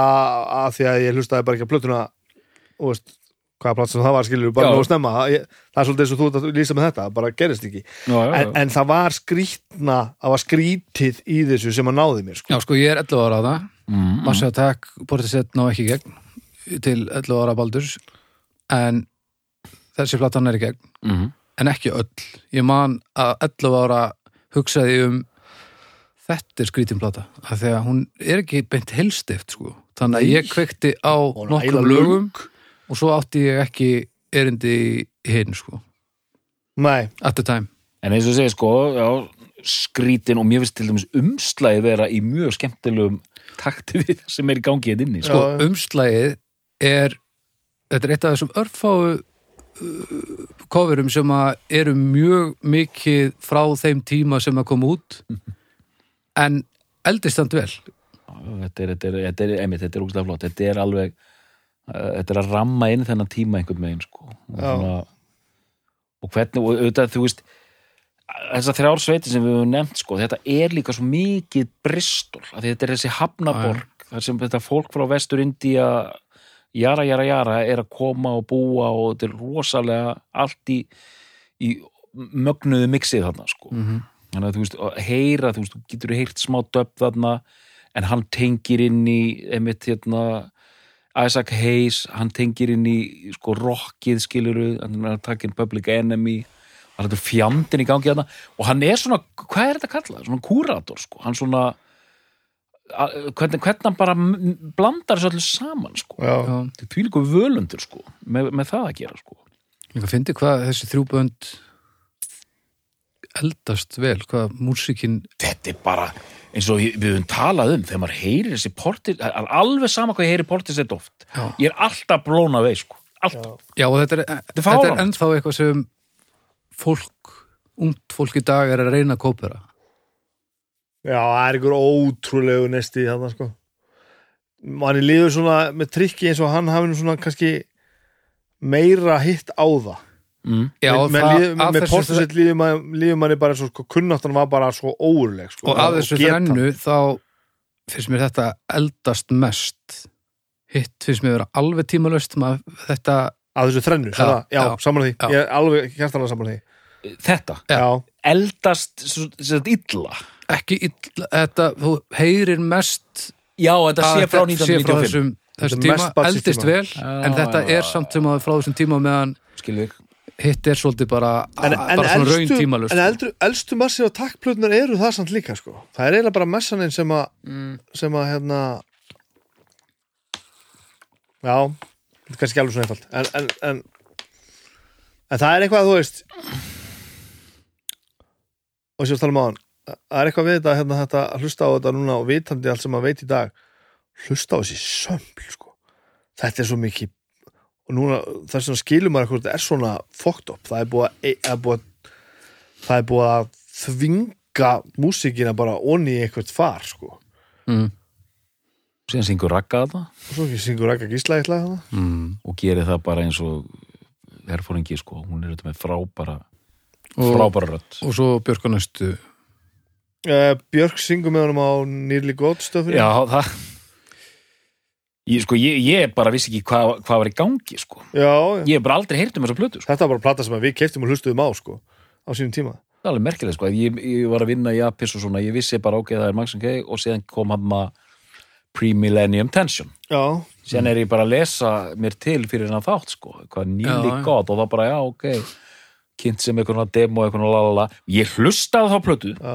D: að því að ég hlustaði bara ekki að plötuna og veist hvaða plötun sem það var skilur bara
C: Já.
D: nógu snemma Það- ég, það er svolítið eins og þú ert að lýsa með þetta bara gerist ekki
C: já, já,
D: en,
C: já.
D: en það var skrítna það var skrítið í þessu sem að náði mér sko.
A: Já, sko, ég er 11 ára á það
C: Mm, mm.
A: Massive Attack, Portishead ná ekki í gegn til 11 ára Baldurs en þessi platan er í gegn,
C: Mhm.
A: en ekki öll ég man að 11 ára hugsaði ég um þetta er skrítin plata, af því að hún er ekki beint helstift, sko þannig að ég kveikti á
D: Hún er
A: nokkrum
D: ægilega
A: lögum og svo átti ég ekki erindi í hinn, sko
D: nei,
A: at the time,
C: En eins og segja sko, já, skrítin og mér finnst til dæmis umslagi vera í mjög skemmtilegum takti við það sem er í gangi hérna inni, sko.
A: sko,
D: Já, já.
A: umslagið er, þetta er eitt af þessum örfáu kofurum sem að eru mjög mikið frá þeim tíma sem að koma út en eldistand vel
C: Þetta er, þetta er, þetta er, einmitt, þetta er ógustlega flott. Þetta er alveg, uh, þetta er að ramma inn þennan tíma einhvern veginn, sko. Og,
D: Já.
C: og hvernig, og auðvitað, þú veist, þessar þrjár sveiti sem við höfum nefnt, sko, þetta er líka svo mikið bristol, af því þetta er þessi hafnaborg, þar sem þetta fólk frá Vestur-Indía, jara, jara, jara er að koma og búa og þetta er rosalega allt í, í mögnuðu mixið þarna sko
A: -hmm.
C: þannig að þú veist, að heyra, þú veist, þú getur heyrt smá döpp þarna, en hann tengir inn í, einmitt hérna Isaac Hayes, hann tengir inn í sko rockið skiluru hann er að taka inn Public Enemy hann er þetta fjandinn í gangi þarna og hann er svona, hvað er þetta kallað? Svona kúrator, sko, hann svona a- hvernig, hvernig hann bara m- blandar þessu öllu saman, sko
D: já,
A: Já,
C: þetta er því líka völundur, sko, með, með það að gera, sko
A: líka fyndi hvað þessi þrjú bönd eldast vel, hvað músíkin
C: þetta er bara eins og við höfum talað um þegar maður heyrir þessi portis það er alveg sama hvað ég heyri portis þetta oft
A: Já.
C: ég er alltaf blóna veið sko alltaf,
A: Já, og þetta er,
C: er
A: þetta er
C: fáránlegt.
A: ennþá eitthvað sem fólk, ungt fólk í dag er að reyna að kópera
D: já, það er ykkur ótrúlegu nesti þarna sko manni líður svona með trikki eins og hann hafi nú svona kannski meira hitt á það
C: mm.
A: Já,
D: Men- menn
A: það-
D: líður-
A: af
D: með
A: þessu-
D: portusett líður manni- líður manni bara svo sko, kunnáttan var bara svo óurleg sko,
A: og að þessu
D: getan.
A: þrennu þá finnst mér þetta eldast mest hitt finnst mér vera alveg tímalöst maður, þetta,
D: að þessu þrennu, já,
A: Já,
D: já,
A: já.
D: saman því
A: Já.
D: ég er alveg hjartanlega saman því
C: þetta,
A: Já.
D: já,
C: eldast svo- sem þetta illa
A: ekki illa, þetta, þú heyrir mest
C: já, þetta
A: að
C: sé frá
A: þetta sé frá
C: 1995
A: þessum, þessum
D: Þetta er mest
A: tíma,
D: barns í
A: eldist
D: tíma.
A: vel en
C: Já,
A: þetta
C: já,
A: er samt sem að frá þessum tíma meðan
C: skilur þig
A: hitt er svolítið bara,
D: en, en,
A: bara svona raun sko.
D: elstu,
A: tímalöst
D: en eldur, elstu massir á takkplötnar eru það samt líka sko. það er eiginlega bara messaninn sem að
A: Mm.
D: sem að hérna já þetta er kannski ekki alveg svona einfalt en, en, en, en það er eitthvað að þú veist og sér tala maður það er eitthvað við þetta, hérna, þetta að hlusta á þetta núna og vitandi allt sem maður veit í dag hlusta á þessi sömbl sko. þetta er svo mikið og núna þess vegna skilur maður hvort þetta er svona fucked up, það er búið að, e- það er búið að, það er búið að þvinga músíkina bara onni í eitthvað far sko.
A: mm.
C: síðan syngur ragga þetta
D: og svo ekki syngur Raka Gísla eitthvað það
A: Mm.
C: og gerir það bara eins og herfóringi sko, hún er þetta með frábara
A: Og,
C: frábara rödd
A: og svo Björk á næstu
D: Uh, Björk syngur með honum á Nearly God stöfinu
C: já, það ég sko, ég, ég bara vissi ekki hvað hva var í gangi sko,
D: já, já.
C: ég hef bara aldrei heyrt um þessa plötu sko.
D: þetta var bara plata sem að við keftum og hlustuðum á sko, á sínum tíma
C: Það er alveg merkilegt sko, ég, ég var að vinna í Apis og svona, ég vissi bara ok, það er Max K og síðan kom hann að Pre-Millennium Tension
D: já,
C: síðan er ég bara að lesa mér til fyrir hann þátt sko, hvað nýli
A: Já, já.
C: gott og þá bara já ok, kynnt sem eitthvað demo eitthvað lalala, ég hlustaði þá plötu
D: já.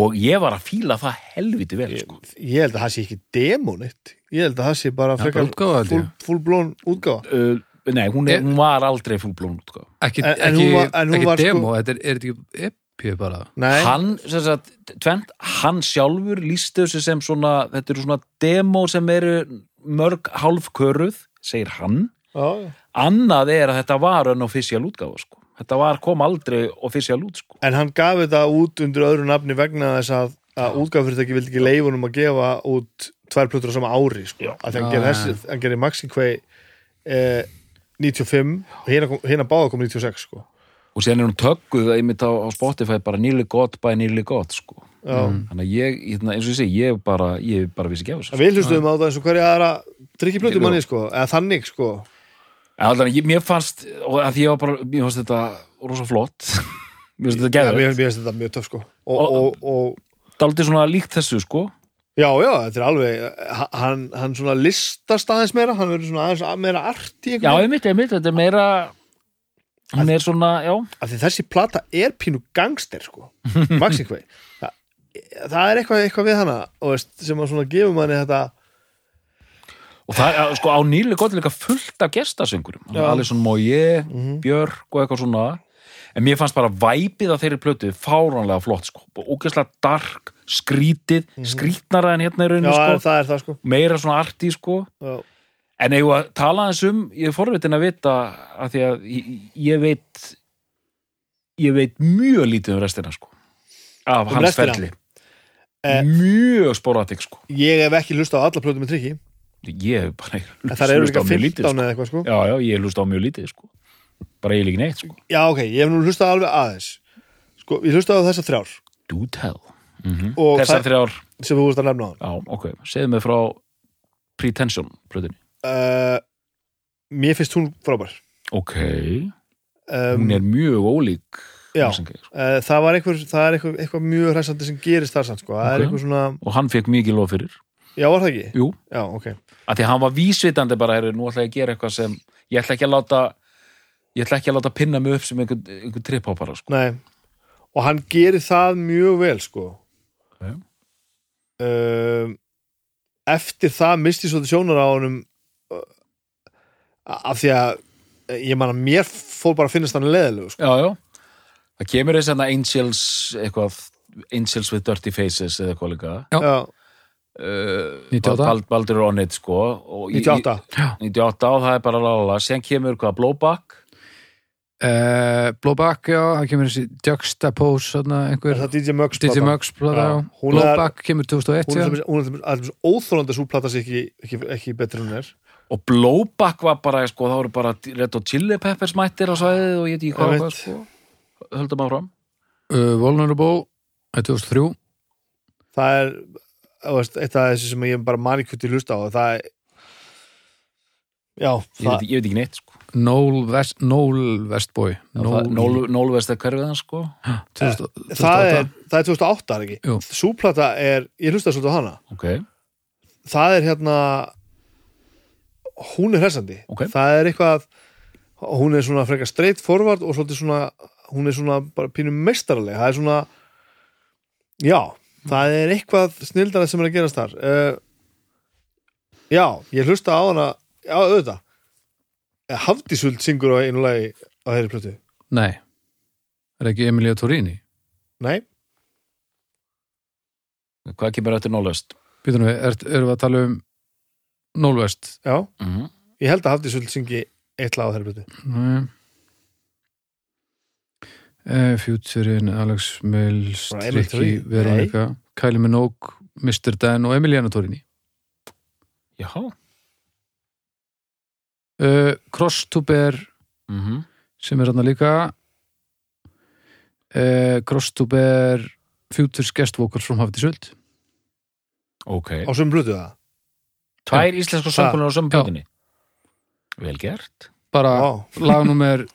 C: og ég var að fíla það helviti vel sko.
D: ég held að það sé ekki demonitt ég held að það sé bara
A: Já, bara útgáfa, held ég.
D: full, full blown útgáfa
C: uh, Nei, hún,
A: Er-
C: er, hún var aldrei fullblón sko.
A: ekki,
D: En- en
A: ekki,
D: hún var- en hún
A: ekki
D: var sko-
A: demo, þetta er, er þetta ekki epi bara
D: Nei,
C: Hann, sem sagt, tvent, hann sjálfur lísti þessu sem svona, þetta eru svona demo sem eru mörg hálfköruð, segir hann
D: já, já.
C: annað er að þetta var enn official útgáfa sko. þetta var, kom aldrei official út sko.
D: en hann gaf þetta út undir öðru nafni vegna þess að, að útgáfyrirtæki vildi ekki leifunum að gefa út tvær plötur á sama ári sko.
C: Já.
D: að því hann
A: Já,
D: gerir
A: já,
D: þessi, hann gerir Maxi Quay eh, 95 og hérna, kom- hérna báða kom 96 sko.
C: og síðan er hún tökkuð einmitt á, á Spotify bara nýli gott bæ nýli gott sko.
D: já
A: Mm.
C: þannig að ég, hérna, eins og ég segi ég bara, ég bara vissi ekki á
D: En
C: þessu sko.
D: Við hlustuðum á það eins og hverja aðra
C: Jú.
D: drikkiplutu manni sko, eða þannig sko
C: en allan, ég, mér fannst, og að því ég var bara mér fannst þetta rosa flott mér fannst þetta
D: Já,
C: gæður,
D: Mér mér finnst þetta mjög töf sko og,
C: Og-
D: og, og,
C: daldið svona líkt þessu sko.
D: Já, já, þetta er alveg h- hann, hann svona listast aðeins meira hann verður svona aðeins meira art í
C: já,
D: einhvern veginn.
C: einmitt, einmitt, þetta er meira hún er svona, já
D: Af því þessi plata er pínu gangster sko, Maxi Quay Þa, Það er eitthvað, eitthvað við hana og veist, sem að svona gefur manni þetta
C: og það er, sko, á nýli gott er líka fullt af gestasöngurum
D: Já. Mhm.
C: Alisson Móje, Björk og eitthvað svona en mér fannst bara væpið af þeirri plötu fáránlega flott, sko, ógeðslega dark skrítið, skrítnara en hérna í
D: Mhm. Já,
C: rauninu,
D: sko,
C: sko,
D: það er það sko
C: meira svona arti, sko
D: já,
C: en eigum við að tala eins um ég er forvitin að vita, af því að ég, ég veit ég veit mjög lítið um restina, sko af
D: Um
C: hans
D: restina?
C: ferli
D: Eh.
C: mjög sporatik, sko
D: Ég hef ekki hlusta á alla plötu með trikki
C: ég hef bara
D: en það eru
C: hlustað
D: líka
C: á mjög lítið,
D: 15 eða eitthvað sko
C: Já, já, ég hlusta á mjög lítið, sko. Bara eiginlega ekki neitt, sko.
D: Já, ok, ég hef nú hlustað alveg aðeins Sko, ég hlusta á þessa þrjár
C: Do tell. Mm
D: og
C: Þessar
D: það
C: þrjár,
D: sem þú vorst að nefna á
C: já, ok, segðu mig frá Pretension, plöðinni.
D: uh, mér finnst hún frábær
C: ok,
D: um,
C: hún er sko. mjög ólík
D: já,
C: Marsinger.
D: uh, það var einhver, það er eitthvað, eitthvað mjög hræsandi sem gerist þar samt sko.
C: Ok.
D: það er eitthvað svona,
C: og hann fekk mikið lof fyrir
D: já var það ekki
C: Jú.
D: já, ok,
C: að því að hann var vísvitandi bara heru, nú ætla ég að gera eitthvað sem ég ætla ekki að láta ég ætla ekki að láta pinna mig upp sem einhver, einhver tripphoppara sko.
D: nei og hann gerir það mjög vel sko
C: Ok.
D: um, eftir það misti ég svolítið sjónar á honum uh, af því að eh, ég man að mér fór bara að finnast hann leðilegu sko.
C: já, já það kemur þess að Angels eitthvað, Angels with Dirty Faces eða eitthvað líka
A: Já.
D: já,
C: Bald,
A: 98
C: Bald- Baldur er on it sko og í-
D: 98
A: Já.
C: í- 98 og það er bara lala sen kemur hvað, Blowback
A: uh, Blowback, já, það kemur þessi Juxtapose, þarna
D: er
A: einhver
D: það DJ Muggs
A: DJ
D: platan?
A: Muggs plata,
D: Já.
A: já.
D: Hún er-
A: Blowback kemur 2001
D: hún er
A: já.
D: til dæmis- hún er til dæmis- alveg óþólandi að svo plata sig ekki, ekki, ekki betri en hún er
C: og Blowback var bara sko, það voru bara Red Hot Chili Peppers mættir á svæðið og ég veit ekki hvað, og hvað
D: Einmitt.
C: sko. höldum áfram
A: uh, Vulnerable er 2003
D: það er þú veist, eitt af þessu sem ég bara manikvöldi hlusta á það er já,
C: ég veit,
D: það,
C: ekki- ég veit ekki neitt sko.
A: Noel, West, Noel Westboy
C: Nól- Nól- Nólvest er hverfið hans sko.
A: 2000
D: Eh, það, er,
A: 2008.
D: það er 2008 er
A: Jú.
D: ekki svo plata er, ég hlusta svolítið á hana
C: okay.
D: það er hérna hún er hressandi
C: Ok.
D: það er eitthvað hún er svona frekar straight forward og svolítið svona hún er svona bara pínum meistarlega það er svona já, það er eitthvað snildara sem er að gerast þar uh, já, ég hlusta á hana já, auðvitað Hafdísvöld syngur á einu lagi á þeirri plötu,
A: Nei, er ekki Emilia Torini
D: nei,
C: hvað kemur eftir Nólvest
A: Býtum við, er, erum við að tala um Noel West
D: já
C: mm -hmm.
D: ég held að Hafdísvöld syngi eitt lag á þeirri plötu
A: Nei. Eh, Futurin, Alex Mills
D: Bara Emily
A: Ricky,
D: Torini?
A: Veronica Kylie Minogue, Mr. Dan og Emiliano Torini
C: já
A: uh, Cross to Bear
C: mm -hmm.
A: sem er hann líka uh, Cross to Bear Futures Guest Vocals from Hafdi Sult
C: ok
D: á sömu plötu það,
C: tvær íslensku söngunar á sömu
A: Já.
C: plötunni vel gert
A: bara
D: Vá.
A: lagnúmer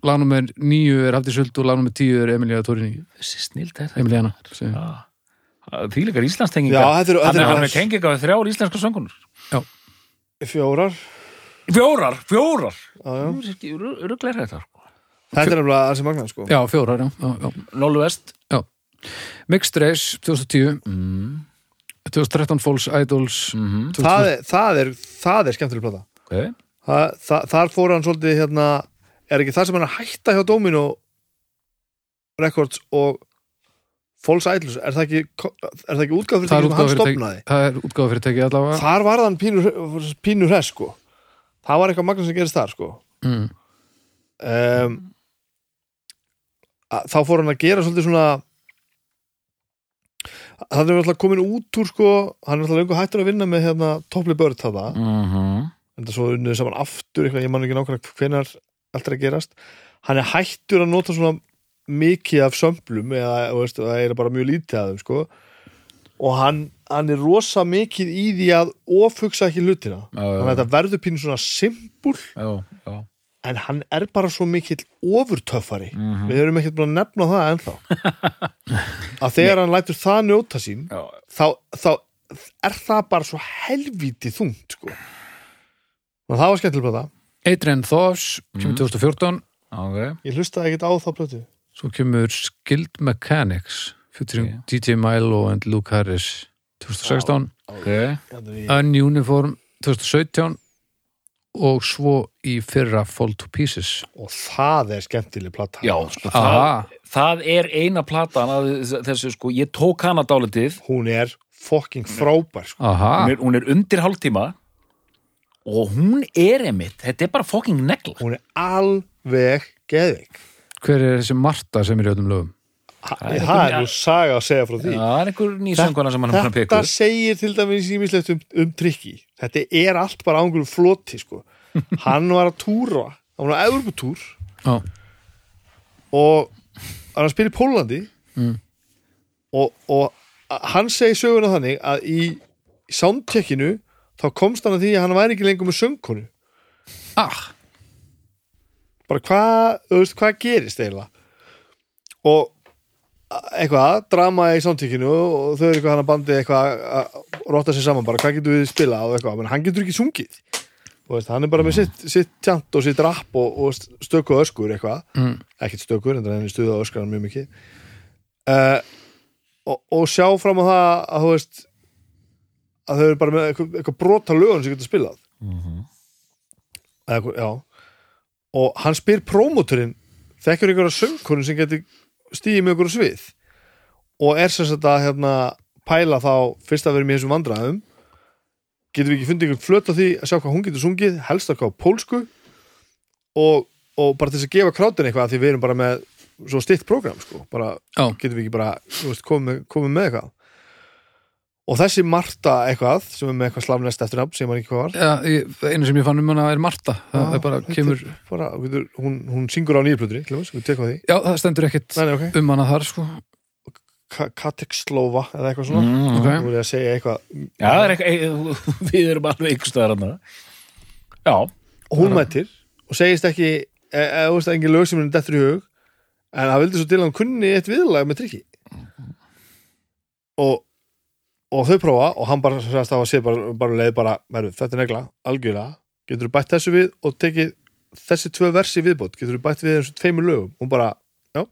A: lagnúmer nýju er Hafdi Sult og lagnúmer tíu er Emiliano Torini
C: þessi snild er þetta Ah.
A: Emiliana sem-
C: Já. því líkar
D: já,
C: íslenstengingar
D: þetta eru-
C: hann
D: þetta
C: er
D: eru
C: hann er
D: bara
C: tengingar við þrjár íslenska söngunar
D: fjórar
C: fjórar, fjórar
D: já, já.
C: ruggleir þetta
D: Þetta er nefnilega ansi magnað sko
A: já, fjórar, já, já, já.
C: Nólvest
A: Mixed Race 2010
C: mm.
A: 2013 Falls Idols
C: mm
D: það, er, það, er, það er skemmtileg plata
C: okay.
D: það, það, Þar fór hann svolítið hérna Er ekki það sem hann er að hætta hjá Domino Records og False Idols Er það ekki, er það ekki útgáð fyrir
A: það er
D: sem hann
A: útgáfa fyrirtæki
D: stopnaði?
A: það er útgáfa fyrirtæki allavega
D: Þar var hann pínur, pínur hress sko Það var eitthvað magnað sem gerist þar sko
A: mm.
D: um, að- þá fór hann að gera svolítið svona hann er alltaf komin út úr sko hann er alltaf lengur hættur að vinna með hérna Topli Börd þarna,
C: mm -hmm.
D: en það svo unnið saman aftur eitthvað, ég man ekki nákvæmlega hvenar allt er að gerast, hann er hættur að nota svona mikið af sömplum eða, þú veist, það er bara mjög lítið að þeim sko og hann, hann er rosa mikið í því að ofugsa ekki hlutina
C: Já, já.
D: þannig að þetta verður pínu svona simpul
C: já, já.
D: en hann er bara svo mikill ofurtöffari
C: Mhm.
D: við erum ekkert búin að nefna það ennþá að þegar hann lætur það njóta sín
C: já.
D: þá, þá er það bara svo helvítið þungt sko og það var skemmtileg plata
A: Adrian Thors
D: Mhm.
A: kemur 2014
C: Okay.
D: ég hlustaði ekkert á þá plötu
A: svo kemur Skilled Mechanics featuring DJ Milo and Luke Harris 2016
C: Okay.
A: Ununiform 2017 og svo í fyrra Fall to Pieces
D: og það er skemmtileg plata
C: já sko, það,
A: Aha,
C: það er eina platan að þessu sko, ég tók hana dálitið
D: hún er fucking frábær sko.
A: aha
C: hún er, hún er undir hálftíma og hún er emitt þetta er bara fucking negla
D: hún er alveg geðvik
A: hver er þessi Marta sem er í öllum lögum
D: það er, það er nú saga að segja frá því
C: það er einhver nýsönguna sem hann er búin að
D: þetta
C: peka upp.
D: segir til dæmis ímislegt um, um trikki þetta er allt bara ángur floti sko. hann var að túra hann var að Evropatúr
A: Já.
D: og hann var að spila í Pólandi
C: Mm.
D: og, og a- hann segi söguna þannig að í soundcheckinu þá komst hann að því að hann væri ekki lengur með söngkonu
A: ah,
D: bara hvað, þú veist, hvað gerist eiginlega og eitthvað, drama í samtíkinu og þau eru eitthvað hann að bandi eitthvað að rotta sér saman bara, hvað getur við spila og eitthvað, menn hann getur ekki sungið og veist, hann er bara með sitt, sitt tjant og sitt rapp og, og stöku öskur eitthvað,
A: mm,
D: ekkert stökur en hann er stuða öskar hann mjög mikið uh, og, og sjá fram á það að þú veist að þau eru bara með eitthvað, eitthvað brota lögun sem getur spilað eða, eitthvað- já og hann spyr prómóturinn þekkjur einhverja söngkunum sem getur stíði með einhverju svið og er sem sagt að hérna, pæla þá fyrst að vera með þessum vandræðum getum við ekki fundið einhvern flöt á því að sjá hvað hún getur sungið, helst okkar á pólsku og, og bara til þess að gefa krátin eitthvað af því við erum bara með svo stitt prógram sko, bara
A: já,
D: getum við ekki bara þú veist, komið, komið með eitthvað og þessi Marta eitthvað sem er með eitthvað slavnest eftir nafn sem hann ekki hvað var
A: já, ég- einu sem ég fann um hana er Marta það
D: Já,
A: er bara
D: þetta er
A: kemur,
D: bara, getur, hún, hún syngur á nýrplötri við tekum á því
A: já, það stendur ekkit
D: Nei, nei, okay.
A: um hana þar, sko
D: Ka- Katikslova eða eitthvað svona
C: Mm.
A: ok,
D: þú voru að segja eitthvað
C: Já, það er eitthvað, e- við erum alveg einhvers staðar hann Já,
D: hún mættir og segist ekki e- eða þú veist engin lög sem henni dettur í hug en það vildi svo til að hún kunni eitt viðlag með trikki og, og þau prófa og hann bara sagðist að sé bara, bara leið bara, verður, þetta er negla, algjörlega getur þú bætt þessu við og tekið þessi tvö versi í viðbót, getur þú bætt við þessu tveimur lögum, hún bara, já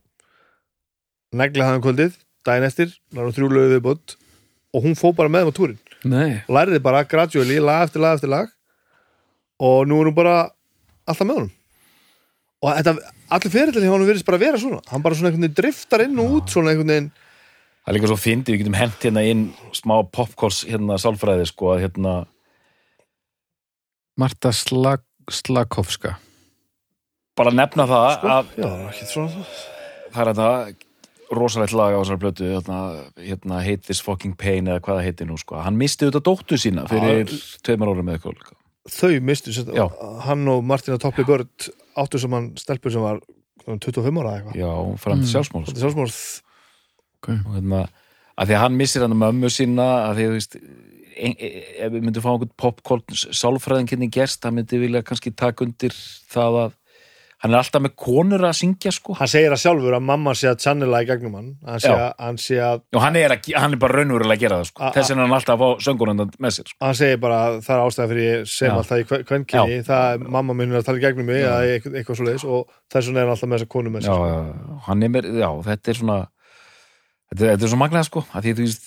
D: negla hann um kvöldið, daginn eftir náður þrjú lögu í viðbót og hún fó bara með þeim á túrin
A: nei,
D: læriði bara gradually lag eftir lag eftir lag og nú er hún bara alltaf með honum og þetta, allir fyrirlega hjá hann virðist bara vera svona hann bara svona einhvern veginn driftar inn og út svona einhvern veginn
C: það er líka svo fyndið, við getum hent hérna inn smá popkors hérna sálfræði sko að hérna,
A: Marta Slag, Slakovska
C: bara nefna það að
D: Sko? já, ekki svona
C: það er þetta rosalegt lag á þessari plötu hérna, hérna Hate This Fucking Pain eða hvað það heitir nú sko, hann misti auðvitað dóttu sína fyrir tveimur árum eða eitthvað líka.
D: þau mistu, sem,
C: Já.
D: hann og Martina Toppli Börd áttu sem hann stelpur sem var hvað, um 25 ára eða eitthvað
C: já, fram til
A: Mm.
C: sjálfsmál
D: Þetta
C: sko.
D: er sjálfsmorð,
C: Og hérna, að því að hann missir hann mömmu sína að því að þú veist ein, e- ef við myndum fá einhvern popcorn sálfræðin kynni gerst, hann myndi vilja kannski taka undir það að hann er alltaf með konur að syngja sko
D: hann segir að sjálfur að mamma sé að channela í gegnum hann hann sé
C: Já.
D: að, hann sé að,
C: og hann er, að, hann er bara raunverulega að gera það sko.
D: A- a-
C: þess vegna er hann alltaf að fá söngurinn með sér sko.
D: hann segir bara að það er ástæða fyrir ég sem
C: Já.
D: alltaf í kvenkinni, það er mamma minn er að tala í gegnum mig eða eitthvað, eitthvað svo og þess vegna er hann alltaf með þessa konu með
C: já,
D: sér sko.
C: já, hann er mér, já, þetta er svona þetta, þetta er svo magnað sko að því, þú veist,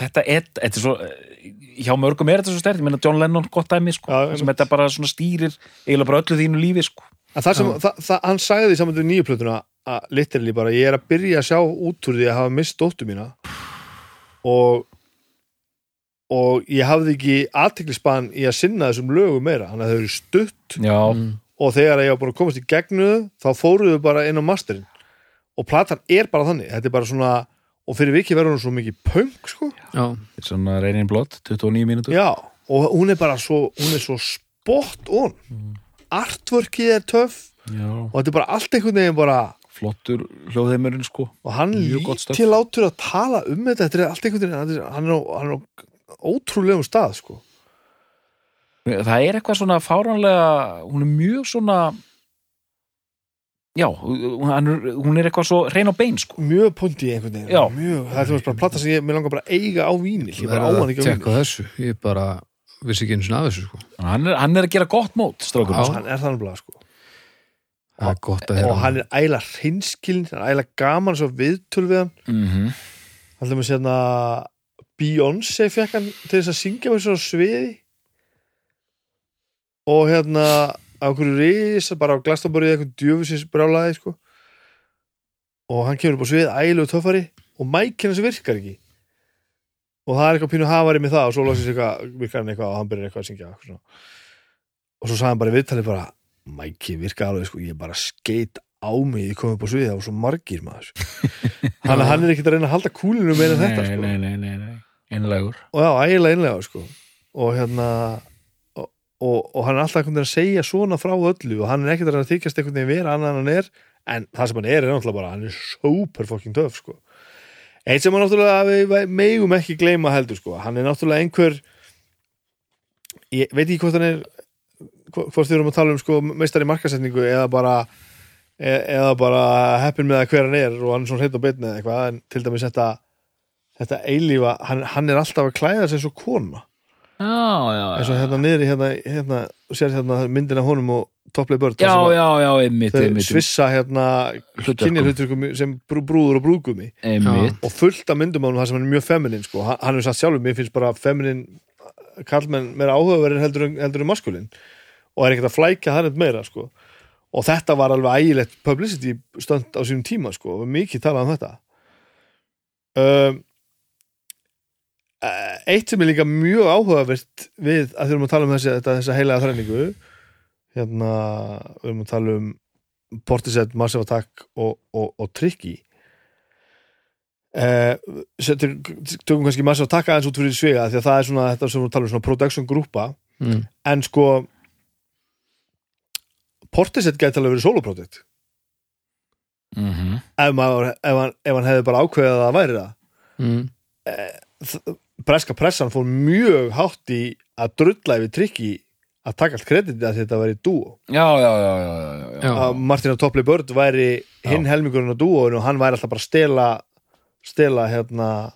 C: þetta er, þetta er svo eh, hjá mörgum er þetta svo stærkt, ég meina John Lennon gott dæmi sko,
D: Já,
C: sem þetta bara svona stýrir eiginlega bara öllu þínu lífi sko
D: En það sem, það, það, hann sagði því saman til nýju plötuna að literally bara, ég er að byrja að sjá út úr því að hafa mist dóttu mína og og ég hafði ekki aðteklisban í að sinna þessum lögum meira þannig að þau eru stutt
C: já,
D: og þegar ég var búin að komast í gegnu þá fóruðu bara inn á masterinn og platan er bara þannig, þetta er bara svona og fyrir viki verður hún svo mikið punk sko
A: já,
C: þetta er svona reynin blott 29 mínútur
D: Já, og hún er bara svo hún er svo spot on artworkið er töff
C: já.
D: og þetta er bara allt einhvern veginn bara
C: flottur hljóðheimurinn sko
D: og hann
C: Mjög gott stöf.
D: lítil látur að tala um þetta þetta er allt einhvern veginn hann er, hann er, hann er á ótrúlegum stað sko.
C: það er eitthvað svona fáránlega hún er mjög svona já, hún er, hún er eitthvað svo reyn á bein sko
D: mjög pontið einhvern veginn
C: Já.
D: mjög, það er til dæmis bara plata sem ég mér langar bara að eiga á vínil ég bara á
A: verða
D: hann
A: að
D: ekki á vínil
A: tekka þessu ég bara vissi ekki einu sinna af þessu, sko
C: hann er, hann er að gera gott mót strókur
A: Já.
D: hann er þannig blað sko.
A: það er gott að
D: og
A: heyra
D: hann er æla hinskiln hann er æla gaman svo viðtöl við hann
C: mm -hmm.
D: hann er með sérna Beyoncé fekk hann til þess að syngja með svo sviði og hérna á einhverju risa bara á glastaborið eitthvað djöfusins brjálaði sko og hann kemur upp á svið ælu og töffari og mæk hennar sem virkar ekki og það er eitthvað pínu hafari með það og svo losið sér eitthvað, virkar hann eitthvað og hann byrjar eitthvað að syngja eitthvað svona. og svo sagði hann bara í viðtalið bara mæki virkar alveg sko, ég bara skeit á mig því ég kom upp á svið það var svo margir maður hann, hann er ekkert að reyna að halda kúlinu meira en þetta sko.
C: nei, nei, nei, nei. einlegur
D: og já, ægilega einlega sko. og hérna og, og, og hann er alltaf einhvern veginn að segja svona frá öllu og hann er ekkert að reyna að þykjast einhvern veginn vera annan en hann er, en það sem hann er er náttúrulega bara, hann er super fucking töf sko. eitt sem hann náttúrulega við- við megum ekki gleyma heldur, sko. hann er náttúrulega einhver ég veit ekki hvort hann er hvort hvort við erum að tala um sko meistari markasetningu eða bara e eða bara heppin með að hver hann er og hann er svona hreitt og beinni eða eitthvað en til dæmis þetta þetta eilífa, hann, hann er alltaf að klæða sig eins og kona
C: já, já,
D: eins og hérna niður í hérna, hérna og sér hérna myndina honum og topplega börn
C: já,
D: þar sem að
C: já, já, einmitt,
D: þau
C: einmitt,
D: svissa hérna
C: Hlutverkum.
D: kynir hluturkum sem brú, brúður og brúðgumi
C: einmitt.
D: og fullt af myndum á hann þar sem hann er mjög feminin sko. hann, hann er satt sjálfur, mér finnst bara feminin kallmenn meira áhugaverðin heldur, en- heldur um maskulin og er ekkert að flækja það neitt meira sko. og þetta var alveg ægilegt publicity stönd á sínum tíma sko. og mikið talað um þetta um, eh, eitt sem er líka mjög áhugavert við að þurfum að tala um þessi, þetta, þessa heilaga þræningu hérna við erum að tala um Portishead, Massive Attack og, og, og Tricky Eh, setur, tökum kannski massa að taka aðeins út fyrir sviga því að það er svona þetta sem við talum um, svona production grúpa
A: mm.
D: en sko Portishead gæti alveg verið soloprojekt
C: Mhm.
D: ef, maður, ef, hann, ef hann hefði bara ákveðið að það væri það
A: Mm.
D: breska pressan fór mjög hátt í að drulla yfir trikki að taka allt kreditið að þetta væri dúo
C: já, já, já, já, já, já.
A: Já.
D: að Martina Topley Bird væri hinn helmingurinn á dúoinu og hann væri alltaf bara að stela stela hérna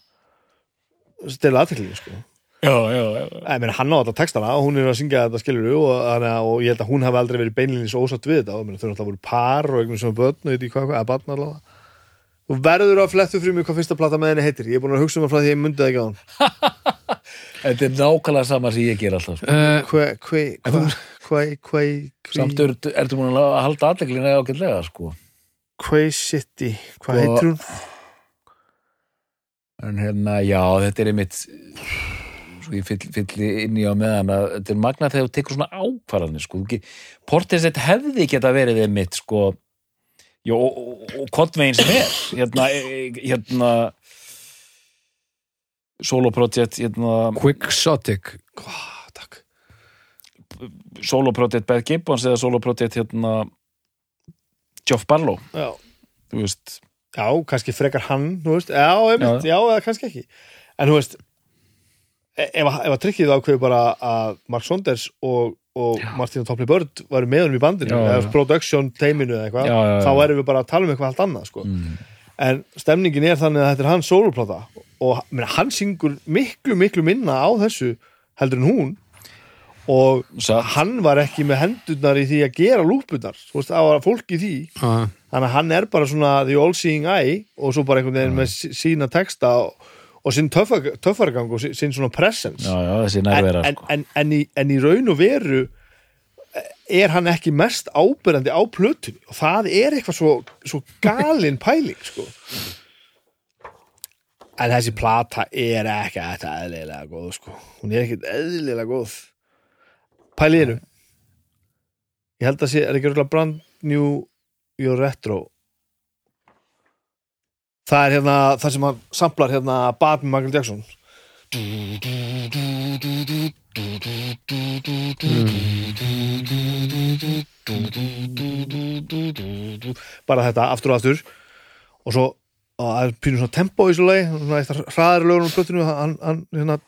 D: stela aðteklingu sko
C: Já, já, já, já.
D: Ég meina, hann á þetta textana og hún er að syngja þetta skilur og, þannig að- og ég held að hún hafi aldrei verið beinlinnis ósatt við þetta og meina, þau náttúrulega voru par og einhvern svona börn og eitthvað hvað, hvað, eða barn allavega Þú verður að flettu fyrir mig hvað fyrsta plata með henni heitir Ég er búin að hugsa um að frá því ég myndi það ekki á hann
C: Þetta er nákvæmlega sama sem ég ger alltaf sko.
A: uh,
D: Hvað, hvað, hvað, hvað, hvað
C: Samt er, ertu múin að halda aðdeglina ágætlega sko.
D: Hvað city, hvað
C: Sko-
D: heitir hún?
C: En hérna, já, þetta er einmitt svo ég fyll, fylli inn í á meðan að þetta er magna þegar þú tekur svona ákvarðanir sko. Þú ge- Portis þetta hefði geta verið einmitt sko Jó, og, og, og kottvegin sem er hérna, e- e- hérna Solo Project hérna,
A: Quixotic
D: Hvað, Ah, takk
C: Solo Project Beth Gibbons eða Solo Project hérna Geoff Barlow
D: Já,
C: þú veist
D: já kannski frekar hann, þú veist Já, einmitt, já, eða kannski ekki En þú veist e- ef, að- ef að tryggið ákveðu bara að Mark Saunders og, og Martina Topley Bird varu með honum í bandinu
C: Já,
D: eða
C: já.
D: production teiminu eða
C: Já, já,
D: eitthvað
C: já.
D: þá erum við bara að tala um eitthvað allt annað sko.
C: mm.
D: en stemningin er þannig að þetta er hans soloplata og mena, hann syngur miklu, miklu minna á þessu heldur en hún og
C: Satt.
D: hann var ekki með hendurnar í því að gera lúpunar þú veist, það var fólk í því
A: uh,
D: þannig að hann er bara svona the all seeing eye og svo bara einhvern veginn með sí- sína texta og, og sinn töffa- töffargang og sí- sín svona presence
C: já, já, þessi
D: en,
C: nærvera
D: en,
C: sko.
D: en, en, í, en í raun og veru eh, er hann ekki mest ábyrjandi á plötunni og það er eitthvað svo, svo galin pæling sko. en þessi plata er ekki þetta eðlilega góð sko. hún er ekki eðlilega góð pæliðinu ég held að sé, er ekki rúglega brand new your retro það er hérna það sem hann samplar hérna Bad með Michael Jackson bara þetta aftur og aftur og svo og það er pínur svona tempo í svo leið svona eitt hraðar lögur um plötinu hann, hann hérna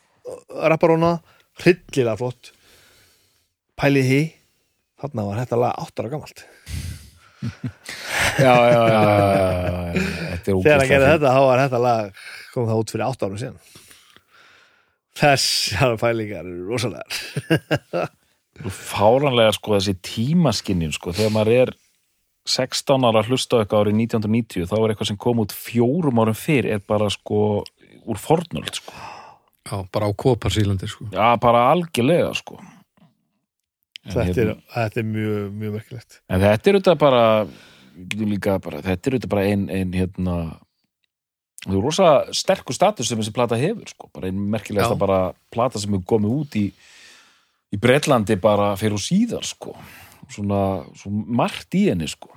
D: rappar hona hryllilega flott pælið því þarna var þetta lag áttara gamalt
C: já, já, já, já, já, já, þetta er
D: þegar hann gerði
C: ógeðslega
D: þetta þá var þetta lag kom það út fyrir átt árum síðan þessar pælingar eru rosalegar
C: fáranlega sko þessi tímaskinjun sko þegar maður er 16 ára að hlusta á eitthvað árið 1990 þá er eitthvað sem kom út fjórum árum fyrr er bara sko úr fornöld sko
A: já, bara á Koparsýlandi sko.
C: já, bara algjörlega sko En
D: þetta er,
C: hérna-
D: þetta er mjög, mjög merkilegt
C: En þetta er auðvitað bara, við getum líka bara, þetta er auðvitað bara ein, ein hérna, þú er rosa sterkur status sem þessi plata hefur, sko, bara ein merkilegasta
A: Já.
C: bara plata sem hefur komið út í, í Bretlandi bara fyrir og síðar, sko, svona, svo margt í henni, sko.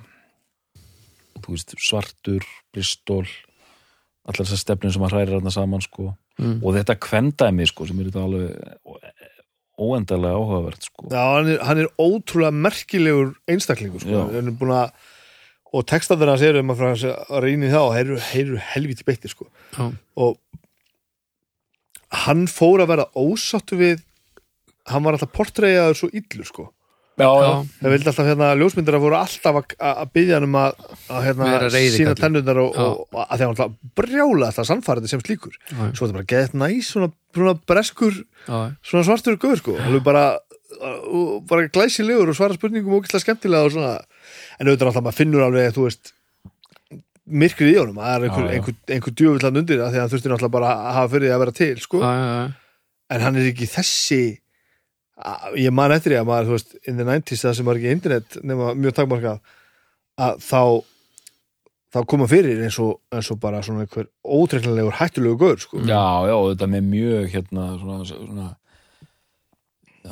C: Þú veist, svartur, bristól, allar þessar stefnir sem að hræri þarna saman, sko,
A: mm.
C: og þetta kvendæmi, sko, sem er þetta alveg óendalega áhugavert, sko.
D: Já, hann er, hann er ótrúlega merkilegur einstaklingur sko.
C: Já.
D: hann er búin að og textaður hans eru, ef maður fyrir að reyni þá heyru, heyru helviti beitti sko.
A: já,
D: og hann fór að vera ósáttu við hann var alltaf portreyjaður svo illur sko
C: já, já,
A: Já.
D: það vildi alltaf hérna ljósmyndara voru alltaf að- að að byggja hann um að, að
A: Vera
D: hérna,
A: reiðikallur.
D: sína tennurnar og,
A: Já.
D: og að því að hann alltaf brjála alltaf sannfærið sem slíkur
A: Já.
D: svo þetta bara geðt næs svona, svona breskur
A: já,
D: svona svartur guður sko hann bara, uh, bara glæsilegur og svara spurningum ógeðslega skemmtilega og svona en auðvitað náttúrulega maður finnur alveg þú veist myrkrið í honum, það er einhver,
C: Já, já.
D: einhver, einhver djöfullan undir af því að hann þurfti náttúrulega bara að hafa fyrir því að vera til sko
A: já, já, já.
D: en hann er ekki þessi að- ég man eftir því að maður, þú veist in the 90s það sem var ekki internet nema mjög takmarkað að þá þá koma fyrir eins og, eins og bara svona einhver ótreklanlegur hættulegu gaur sko.
C: já, já, og þetta með mjög hérna, svona, svona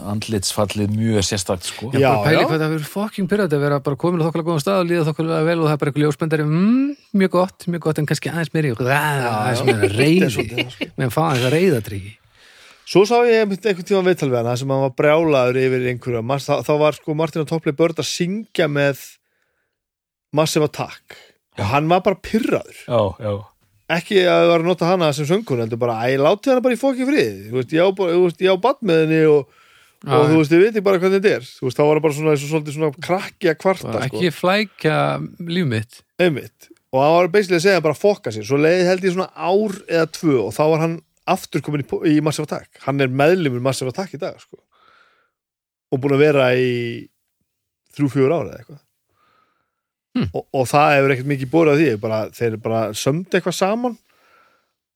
C: andlitsfallið mjög sérstakt sko.
D: Já,
A: bara pæli
D: já.
A: hvað það verður fucking pyrrandi að vera bara komin á þokkala góðan stað og líða þokkala vel og það er bara eitthvað ljósbendari mm, mjög gott, mjög gott en kannski aðeins meiri ræða, aðeins meira
D: Þetta er
A: reyði
D: svolítið það, sko.
A: meðan fá aðeins að reyða tryggi
D: Svo sá ég einmitt einhvern tíma viðtal við hann þar sem hann var brjálaður yfir einhverja Mas- þá, þá var sko Martin og Topley Börd að syngja með Massive Attack og hann var bara pyrraður
C: já, já,
D: ekki að það var að nota hana sem söngun heldur bara, æ, látið hana bara í fokki frið þú veist, ég á, bara- þú veist, ég á bann með henni og, og
A: Já,
D: þú veist, ég veit bara hvernig þetta er þú veist, þá var hann bara svona, svo, svolítið svona krakki að kvarta, sko,
A: ekki flækja líf mitt
D: einmitt og hann var basically að segja bara fokka sér svo leiði held ég svona ár eða tvö og þá var hann aftur komin í, po- í Massive Attack hann er meðlumur Massive Attack í dag, sko og búin að vera í þrjú, fjögur ára eða eitthvað og, og það hefur ekkert mikið borið á því bara, þeir bara sömdu eitthvað saman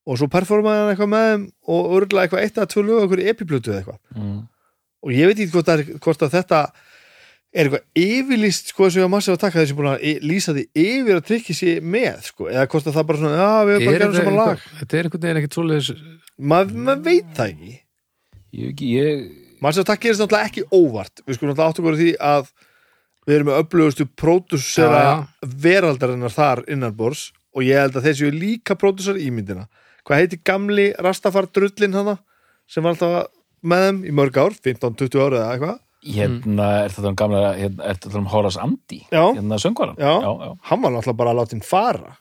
D: og svo performaði hann eitthvað með þeim og örgulega eitthvað eitt að tvö lög okkur epiplötu eða eitthvað
C: mm.
D: og ég veit ekki hvort, það er, hvort að þetta er eitthvað yfirlýst sko sem ég var massið að taka þessi búin að y- lýsa því yfir að trykki sér með sko eða hvort að það bara svona, já við erum bara að gera saman lag
A: þetta er einhvern veginn ekkert svoleiðis
D: maður mað veit það ekki
C: ég, hef ekki- ég
D: massið að taka gerist náttúrulega ekki óvart við skulum náttúrulega áttu góður því að við erum með öflugustu pródusera
A: Já,
D: veraldarinnar þar innanbors og ég held að þeir séu líka pródusar í myndina hvað heiti gamli Rastafar drullin hana sem var alltaf með þeim í mörg ár 15-20 ára eða eitthvað
C: hérna, er þetta um gamla hérna, er þetta um Horace Andy
D: Já.
C: hérna söngvaran
D: Já.
C: já, já.
D: hann var náttúrulega bara að láta hinn fara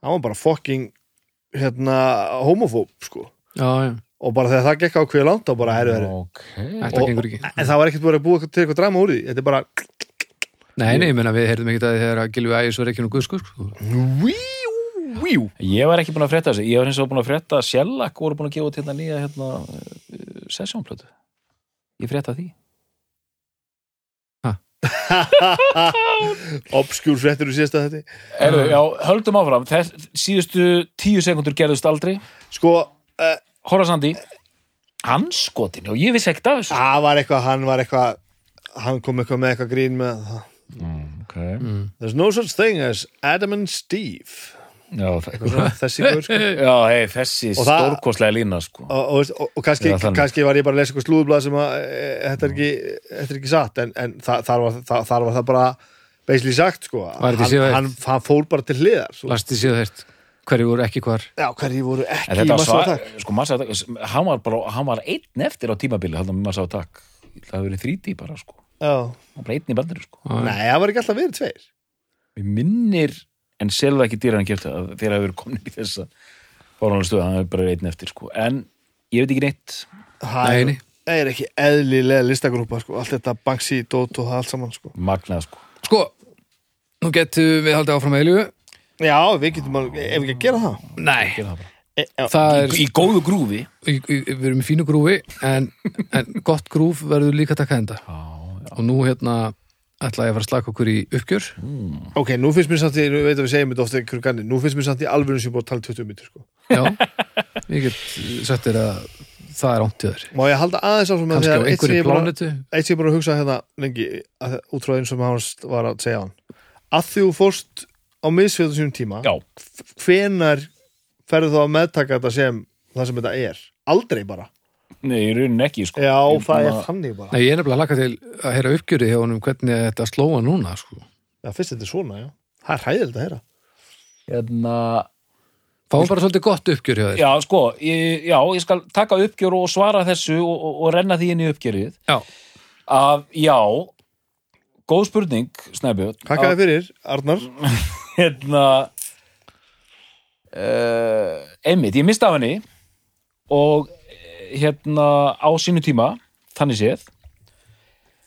D: hann var bara fucking hérna, homofób sko
A: já, já,
D: og bara þegar það gekk á hverju langt þá bara herru herru
C: ok
A: þetta
D: Og-
A: gengur ekki
D: en það var ekkert búið að búa til eitthvað drama úr því þetta er bara
A: nei, nei, ég menna við heyrðum ekki það þegar að Gilvi Ægis var ekki nú guðsku sko.
D: víu, víu
C: ég var ekki búin að frétta þessu, ég var eins og búin að frétta að Shellac voru búin að gefa út hérna nýja hérna, uh, sessjónplötu ég frétta því
D: obskjúr fréttur í síðasta þetta
C: Erðu, já, höldum áfram, Þess, síðustu tíu sekundur gerðust aldrei
D: sko, eh,
C: Horace Andy hann skotin, og ég vissi ekkert af þessu
D: það var eitthvað hann var eitthvað hann kom eitthvað með eitthvað grín með
C: mm, okay. mm.
D: there's no such thing as Adam and Steve
C: já, það-
D: Svona þessi góður sko
C: já hei, þessi
D: Og það-
C: stórkostlega lína sko.
D: og, og, og, og kannski,
C: Eða þannig.
D: kannski var ég bara að lesa eitthvað slúðublað sem að e, þetta, er ekki, þetta er ekki satt en, en þa, þar, var, þa, þar var það bara beisli sagt sko
A: Var
D: hann,
A: þetta síðan-
D: hann, hann fór bara til hliðar svo.
A: lasti síðan þeirt, hverju voru ekki hvar
D: já, hverjir voru
C: En
D: ekki í
C: þetta var
D: massa
C: svar,
D: attack
C: sko, massa attack, hann var bara, hann var einn eftir á tímabili, hann var massa attack, það hefur verið þríti bara, sko,
D: já.
C: hann var bara einn í bandinu, sko.
D: nei, það var ekki alltaf verið tveir
C: Mér minnir, en selða ekki dýran kjöfta, þegar það hefur verið komin í þessa fórhálanstöð, hann hefur bara verið einn eftir, sko, en ég veit ekki neitt,
A: Nei,
D: það
A: nei.
D: er- það er ekki eðlilega listagrúpa sko allt þetta Banksy, Dót og það allt saman sko
C: magnað, sko.
A: sko, nú getum við haldið áfram eilu
D: já, við getum að, ef ekki að gera það
A: nei,
C: Gerðu það bara.
D: e, já,
A: það er
C: Í, í góðu grúfi.
A: í- í- við erum í fínu grúfi en, en gott grúf verður líka að taka enda
C: Já,
A: og nú hérna ætla ég að fara að slaka okkur í uppgjör
D: ok, nú finnst mér samt í, nú veit að við segjum þetta ofta einhverjum ganni, nú finnst mér samt í alvöru sem ég er búið að tala í 20 mítur sko
A: já, ég get sett þér að það er ánt í þér
D: má ég halda aðeins áfram með
A: kannski á
D: því að eitt sem
A: einhverju
D: ég er búin að-
A: plánetu
D: eitt sem ég er búin að hugsa hérna lengi að- út frá eins og hann var að segja hann að því þú fórst á misfjöldu sínum tíma
C: já,
D: hvenar ferðu þá að meðtaka þetta sem það sem þetta er aldrei bara
C: nei, í rauninni ekki, sko.
D: já
C: Ég
D: það er
C: bara-
D: þannig bara
A: Nei, ég er nefnilega að laka til að heyra uppgjörið hjá honum hvernig þetta slóa núna sko.
D: já, fyrst þetta er svona já það er hæðilegt að heyra
C: Hérna,
A: fáum bara svolítið gott uppgjör hjá þér
C: já, sko, ég, já, ég skal taka uppgjör og svara þessu og, og, og renna því inn í uppgjörið.
A: já,
C: að já góð spurning, Snæbjörn
D: takk að
C: að,
D: þið fyrir Arnar
C: Mm. hérna uh, eh, einmitt, ég mista af henni og eh, hérna á sínu tíma þannig séð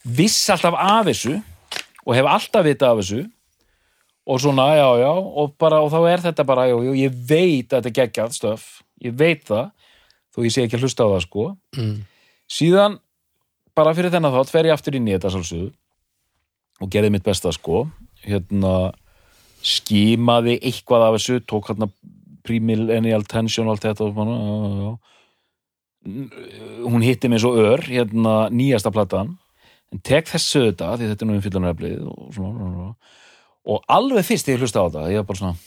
C: viss alltaf af þessu og hef alltaf vitað af þessu og svona, já, já og, bara, og þá er þetta bara, já, já, ég veit að þetta er geggjað stöf, ég veit það þó ég sé ekki að hlusta á það, sko
A: Mm.
C: síðan, bara fyrir þennan þátt fer ég aftur inn í þetta sálsöðu og gerði mitt besta, sko hérna, skimaði eitthvað af þessu, tók hérna premillennial tension og allt þetta og svona, já, já, já hún hitti mig svo ör hérna nýjasta platan en tek þessu þetta, því þetta er nú umfyllanreflið og svona, svona, svona og alveg fyrst þegar ég hlusta á þetta, ég var bara svona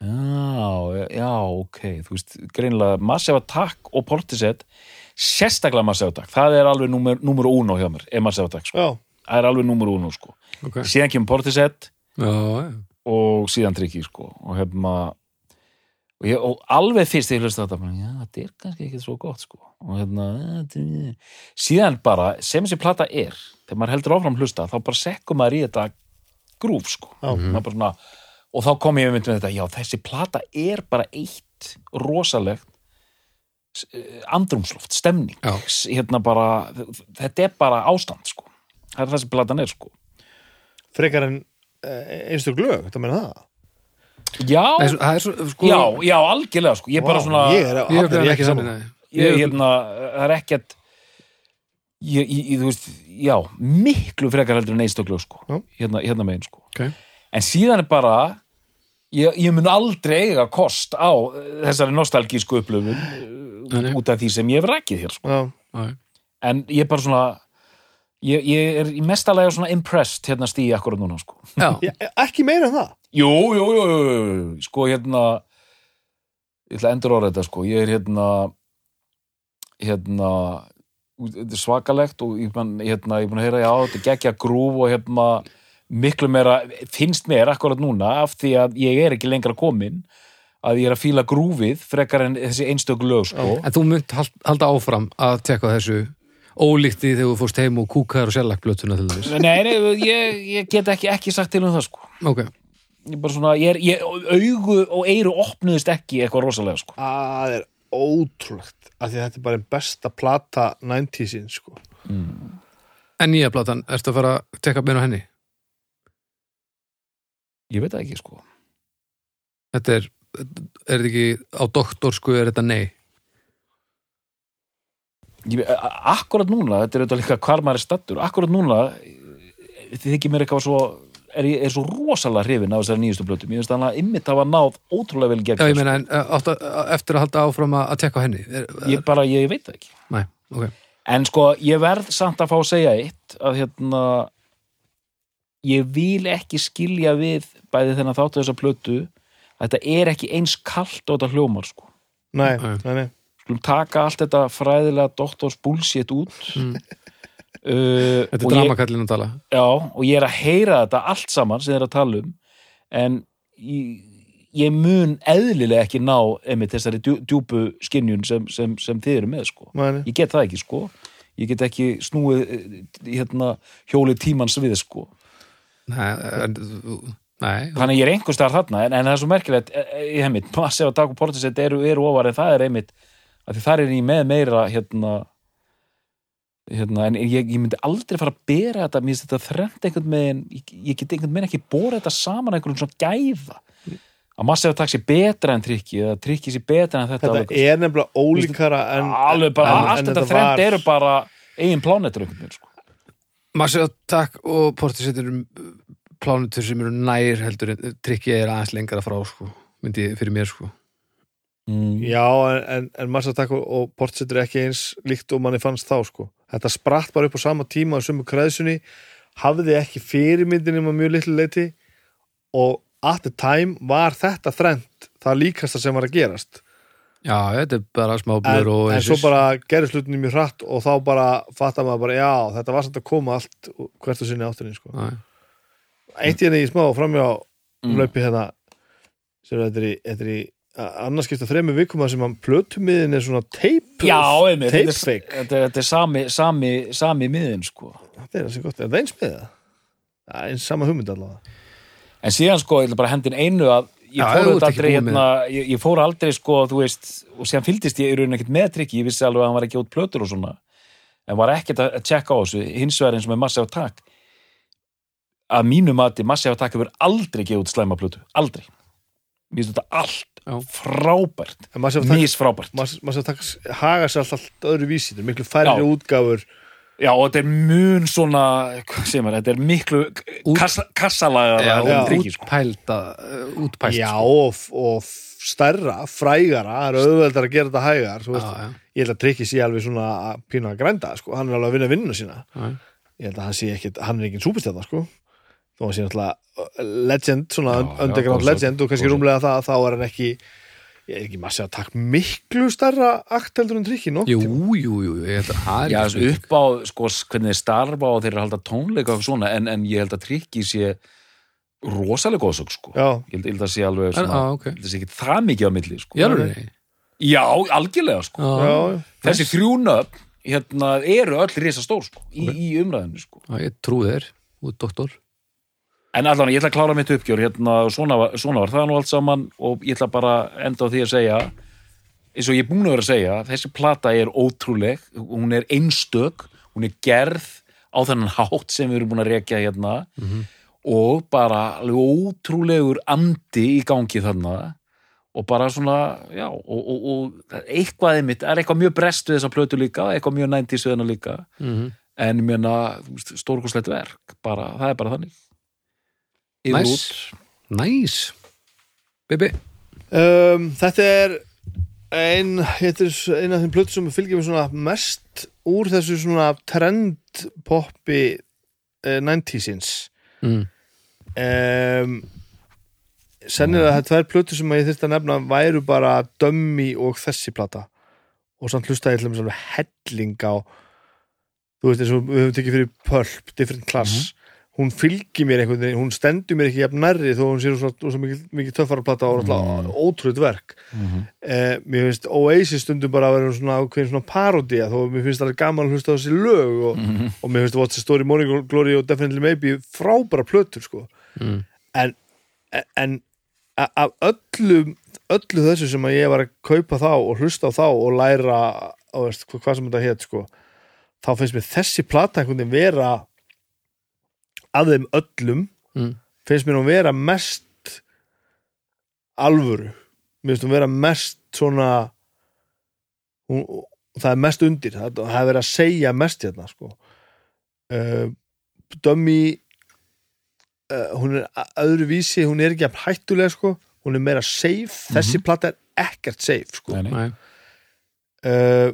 C: já, já, ok þú veist, greinilega Massive Attack og Portishead sérstaklega Massive Attack, það er alveg númer, númer uno hjá mér, er Massive Attack, sko
D: já,
C: það er alveg númer uno, sko
A: ok já,
C: síðan kemur Portishead
A: já,
C: og síðan tryggi sko og hefma og, ég, og alveg fyrst þegar ég hlusta á þetta bara, já, þetta er kannski ekki svo gott sko og hérna "Eh, þetta er-" síðan bara, sem þessi plata er þegar maður heldur áfram hlusta, þá bara sekkur maður í þetta grúf sko
D: Já.
C: Maður bara svona, og þá kom ég mynd með þetta já, þessi plata er bara eitt rosalegt s- eh, andrúmsloft, stemning
A: Já.
C: S- hérna bara, þetta er bara ástand sko, það er það sem platan er sko
D: frekar en einstu glög, þetta meina það
C: já,
A: Það er svo- það er svo, sko
C: já, já, algjörlega sko. ég er bara
D: Vá,
C: svona
D: ég er,
A: ég er
D: er
A: ekki saman
C: ég, hérna, það er ekkert ég, ég, ég, þú veist, já miklu frekar heldur en einstöklög sko.
D: Já.
C: hérna, hérna megin sko.
A: Ok.
C: en síðan er bara ég, ég mun aldrei eiga kost á eh, þessari nostalgísku upplöfun
A: Nei, nei.
C: eh, út af því sem ég hef rækið hér sko.
D: já,
A: Já,
C: en ég er bara svona ég, ég er í mesta lega svona impressed hérna stíði akkurat núna sko.
A: já,
D: Já, ekki meira en það
C: Jú, jú, jú, jú, jú, jú, sko hérna ég ætla að endur orða þetta sko, ég er hérna hérna þetta er svakalegt og ég man, hérna, ég er búin að heyra, já, þetta gekkja grúf og hérna miklu meira, finnst mér akkurat núna af því að ég er ekki lengra komin að ég er að fíla grúfið frekar en þessi einstök lög sko
A: En þú mynd halda áfram að tekka þessu ólíkt í þegar þú fórst heim og kúkaður og sjálflagblötuna til þess.
C: Nei, nei, ég, ég get ekki, ekki sagt til um það sko
A: Ok,
C: ég bara svona, ég er, ég, augu og eyru opnuðist ekki eitthvað rosalega sko
D: það er ótrúlegt af því að þetta er bara einn besta plata 90sin sko
C: Mm.
A: en nýja platan, ertu að fara að tekka beinu á henni?
C: ég veit það ekki sko
A: Þetta er, er þetta ekki á doktorsku, er þetta nei?
C: Ég- a- Akkurat núna, þetta er auðvitað líka hvar maður er stattur Akkurat núna eh, þykir mér eitthvað svo er, ég- er svo rosalega hrifin af þessari nýjustu blötum Ég finnst þannig að ymmit hafa náð ótrúlega vel gegn
A: Já, ég
C: þessu.
A: meina, en eh, áttu að- eftir að halda áfram að að tekka á henni? Er,
C: ég bara, ég, veit það ekki
A: Nei, ok.
C: En sko, ég verð samt að fá að segja eitt að hérna ég vil ekki skilja við bæði þennan þáttu þessa plötu að þetta er ekki eins kalt og þetta hljómar sko
D: nei,
A: Nei.
D: nei, nei,
C: skulum taka allt þetta fræðilega doktors bullshit út
A: Mm.
C: uh,
A: Þetta
C: og
A: er
C: ég-
A: dramakallin að tala.
C: Já, og ég er að heyra þetta allt saman sem þeir eru að tala um en ég, ég mun eðlilega ekki ná einmitt þessari djú, djúpu skinjun sem, sem, sem þið eru með sko.
D: nei, nei.
C: Ég get það ekki sko. Ég get ekki snúið eh, hérna, hjólið tímans við sko.
A: Nei, en, þú- nei.
C: Þannig að ég er einhvers staðar þarna en, en það er svo merkilegt, eh, eh, ég heimitt Massive Attack og Portishead eru, eru ofar en það er einmitt að því þar er ég með meira hérna, hérna en ég, ég myndi aldrei fara að bera þetta mér finnst þetta þrennt einhvern veginn ég, ég get einhvern veginn ekki bora þetta saman einhverjum svona gæða að Massive Attack sé betra en trikki eða trikki sé betra en þetta,
D: þetta
C: alveg-
D: er nefnilega ólíkara en,
C: alveg bara,
D: en-
C: allt
D: en
C: þetta þrennt eru bara eigin plánetur einhvern veginn sko.
A: Marcel Takk og Portisett eru plánutur sem eru nær heldur, en trikki er aðeins lengra frá, sko, myndi ég- fyrir mér, sko.
C: mm.
D: já, en, en, en Massa Takk og- og Portset er ekki eins líkt og manni fannst þá sko þetta spratt bara upp á sama tíma á sömu kreðsunni hafði ekki fyrirmyndin um að mjög litlu leiti og at the time var þetta þrennt það líkasta sem var að gerast
A: Já, þetta er bara smá
D: en,
A: blur og
D: en
A: eins-
D: svo bara gerist hlutinni mjög hratt og þá bara fattar maður bara já, þetta var samt að koma allt hvert og sinni áttinni sko.
A: Nei.
D: eitt hérna í henni í smá framjá
C: Mm.
D: mm. löpi hérna sem þetta er í, þetta er í annarskipta þremur vikum þar sem hann plötumiðin er svona teip
C: Já, einmitt, þetta er,
D: teipfeik,
C: þetta, er- þetta er sami, sami, sami miðin sko.
D: þetta er þessi gott, er það eins með það? Ja, eins sama hugmynd allavega
C: En síðan sko, ég ætla bara hendin einu að ég
A: Já,
C: fór
A: þú ert
C: auðvitað
A: ekki
C: aldrei
A: búin með
C: hérna, ég, ég fór aldrei sko, þú veist, og síðan fylgdist ég í raunin ekkert með trikki, ég vissi alveg að hann var ekki út plötur og svona. en var ekkert að að tjekka á þessu hins vegar eins og með Massive Attack að mínu mati Massive Attack hefur aldrei gefið út slæma plötu, aldrei mér finnst þetta allt
A: Já.
C: frábært
D: En maður sem
C: mís frábært
D: maður sem haga sér alltaf öðru vísi, það er miklu færri
C: Já.
D: útgáfur
C: já og þetta er mun svona hvað segir maður, þetta er miklu
A: Út-
C: kassa, kassalaga
A: Já,
D: já.
C: drikki, sko.
A: útpælda, uh, útpælt
D: Já,
A: sko.
D: og, og stærra, frægara það er auðveldar að gera þetta hægar þú veist,
A: Já, já.
D: ég held að tryggi sér alveg svona að pína að grænda, sko, hann er alveg að vinna vinnuna sína
A: Já.
D: ég held að hann sé ekkit, hann er engin súpistjarnar, sko þó hann sé náttúrulega uh, legend, svona
C: Já, já,
D: underground
C: góðsögn,
D: legend og kannski
C: góðsögn.
D: rúmlega það, þá er hann ekki ég er ekki maður að taka miklu stærra akt heldur en tryggi, nokk
A: Jú, jú, jú, ég held að það er
C: Já,
A: ekki
C: þessu
A: spurning.
C: upp á sko, hvernig þeir starfa og þeir eru að halda tónleika og svona, en, en ég held að trikki sé rosalega góðsök sko.
D: Já,
C: ég held, ég held að sé alveg
A: En,
C: svona,
A: á, ok.
C: ég held að sé ekki það mikið á milli sko.
A: Í alvörunni?
C: Já, algjörlega sko.
A: Já,
D: já,
C: þessi þrjúnöf hérna, eru öll risa stór sko, í,
A: Ok.
C: í umræðinu sko.
A: já, ég trú þér, út doktor
C: en allan, ég ætla að klára mitt uppgjör hérna, svona, var- svona var það nú allt saman og ég ætla bara að enda á því að segja eins og ég er búin að vera að segja þessi plata er ótrúleg, hún er einstök hún er gerð á þennan hátt sem við erum búin að rekja hérna og bara alveg ótrúlegur andi í gangi þarna og bara svona, já og, og, og eitthvað einmitt, það er eitthvað mjög brest við þessa plötu líka, eitthvað mjög næntis við hennar líka
A: mm -hmm.
C: en ég meina stórkoslegt verk bara, það er bara þannig Yfir
A: Næs,
C: út.
A: næs Bibi,
D: Um, þetta er ein, þetta er ein af þeim plötu sem fylgir mér svona mest úr þessu svona trend poppi uh, 90sins
A: Mm.
D: um, sennilega þetta er plötu sem ég þyrst að nefna væru bara Dummy og þessi plata og samt hlusta ég til þess alveg helling á þú veist eins og við höfum tekið fyrir Pulp, Different Class hún fylgir mér einhvern veginn, hún stendur mér ekki jafn nærri þó hún sér svo, svo mikið, mikið töffaraplata og alltaf ótrúð verk eh, mér finnst Oasis stundum bara að vera svona ákveðin svona parodía þó mér finnst það gaman að hlusta á þessi lög og,
C: Mhm.
D: og mér finnst What's the Story, Morning Glory og Definitely Maybe frábæra plötur sko
A: Mm.
D: en, en a- af öllum öllu þessu sem að ég var að kaupa þá og hlusta á þá og læra og veist, hva- hvað sem þetta hétt sko þá finnst mér þessi plata einhvern veginn vera af þeim öllum
A: Mm.
D: finnst mér hún vera mest alvöru mér finnst hún vera mest svona hún, það er mest undir það, það er verið að segja mest hérna sko uh, Dömmi uh, hún er a- öðruvísi hún er ekki jafn hættulega sko hún er meira safe, þessi plata er ekkert safe sko
C: Nei, nei.
A: Nei,
D: uh,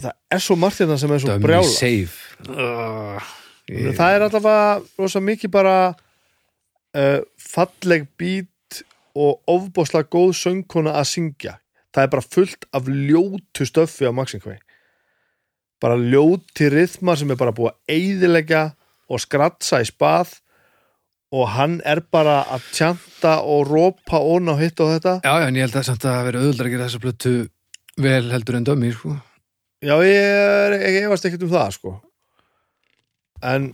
D: það er svo margt hérna sem er svo
A: Dummy
D: brjála
A: Save uh,
D: Ég... Það er allavega rosa mikið bara uh, falleg bít og ofbóðslega góð söngkona að syngja. Það er bara fullt af ljótu stöffi á Maxim Kvei. Bara ljóti rithma sem er bara búið að eyðileggja og skratsa í spað og hann er bara að tjanta og rópa ón á hitt og þetta.
A: Já, já, en ég held að samt að það verið auðvöldar að gera þessa plötu vel heldur en dömi, sko
D: Já, ég, er, ég efast ekkert um það, sko. En,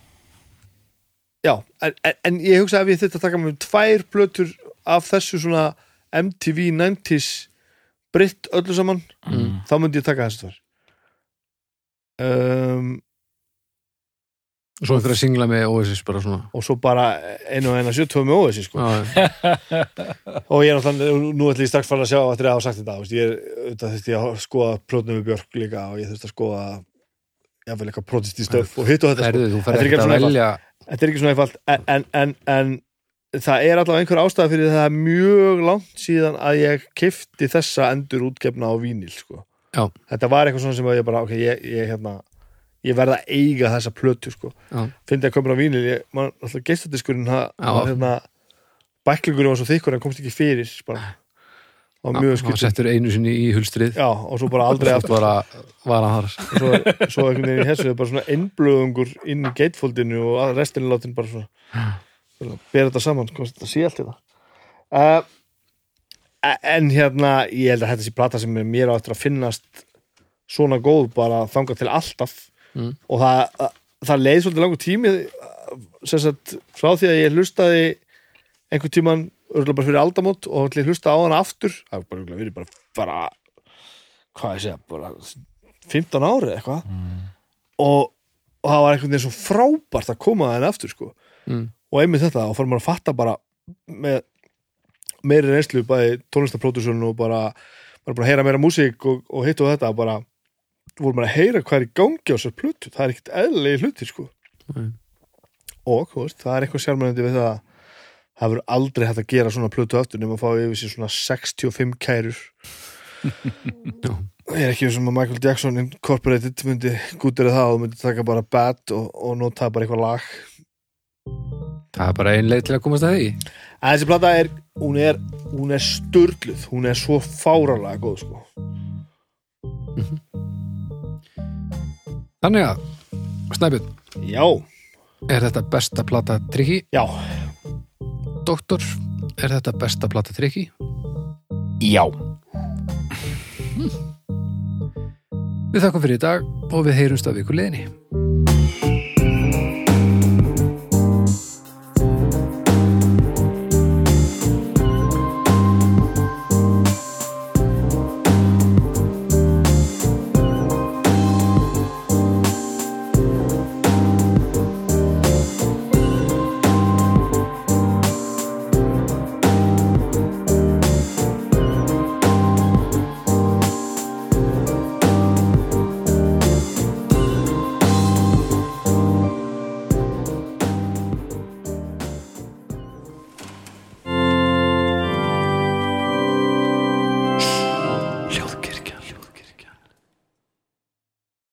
D: já, en, en, en ég hugsa ef ég þetta taka mér tvær plötur af þessu svona MTV 90s britt öllu saman,
A: Mm.
D: þá myndi ég taka þessu tvær. Um,
A: Svo einhverja singla með Oasis bara svona
D: og svo bara einu og eina 72 með óvissi, sko.
A: Já, já.
D: Og ég er náttúrulega, nú ætlum ég strax fara að sjá eftir að hafa sagt þetta, þú veist, ég er, auðvitað þurfti ég að skoða plötnum við Björk líka og ég þurfti að skoða, ég vil eitthvað protist í stöf og hitt og þetta, sko.
A: Herðu, þú
D: Þetta er
A: ferð
D: ekki
A: ekki að
D: svona eitthvað.
A: velja
D: þetta er ekki svona einfalt en, en, en, en það er allavega einhver ástæða fyrir það er mjög langt síðan að ég kifti þessa endur útgefna á vínil sko.
A: Já.
D: þetta var eitthvað svona sem að ég bara ok, ég, ég, hérna, ég verð að eiga þessa plötu sko.
A: Já.
D: fyndi að köpa á vínil ég, man, alltaf geistadiskurinn ha-
A: Já.
D: hann, hérna, bæklingurinn var svo þykkur hann komst ekki fyrir bara. það var mjög
A: Hann
D: skýrt
A: settur einu sinni í hulstrið
D: Já, og svo bara aldrei
A: Svo
D: aftur
A: bara var hann þar
D: svo, svo einhvern veginn í þessu er bara svona einblöðungur inn í gatefoldinu og að restin látin bara svona bara bera þetta saman, hvað þetta sé allt þetta uh, en hérna ég held að þetta sé plata sem er mér á eftir að finnast svona góð bara þangað til alltaf
A: Mm.
D: og það, það leið svolítið langur tími eh, sem sagt frá því að ég hlustaði einhvern tíman örgulega bara fyrir aldamót og ætli ég hlusta á hana aftur það er bara örgulega verið bara, bara hvað ég segja, bara 15 ári eða eitthvað og, og það var einhvern veginn svo frábært að koma það aftur sko
A: Mm.
D: og einmitt þetta, þá fór maður að fatta bara með meiri reynslu bæði tónlistapródúsun og bara bara bara að heyra meira músík og, og hitt og þetta bara, voru maður að heyra hvað er í gangi á sér plötu, það er ekkert eðlilegi hluti sko
A: Nei.
D: og þú veist, það er eitthvað sjálfmennandi við það að það verður aldrei hægt að gera svona plötu aftur nema að fá yfir sér svona 65 kærur Ég er ekki sem að Michael Jackson Incorporated myndi gútir það og myndi taka bara bat og, og nota bara eitthvað lag
A: Það er bara ein leið til að komast að því
D: En þessi plata er, hún er, hún er sturluð, hún er svo fáralega góð sko.
A: Þannig að, Snæbjörn,
D: Já,
A: er þetta besta plata trikki?
D: já,
A: Doktor, er þetta besta plata trikki?
C: Já,
A: Við þakkum fyrir í dag og við heyrumst af ykkur leiðinni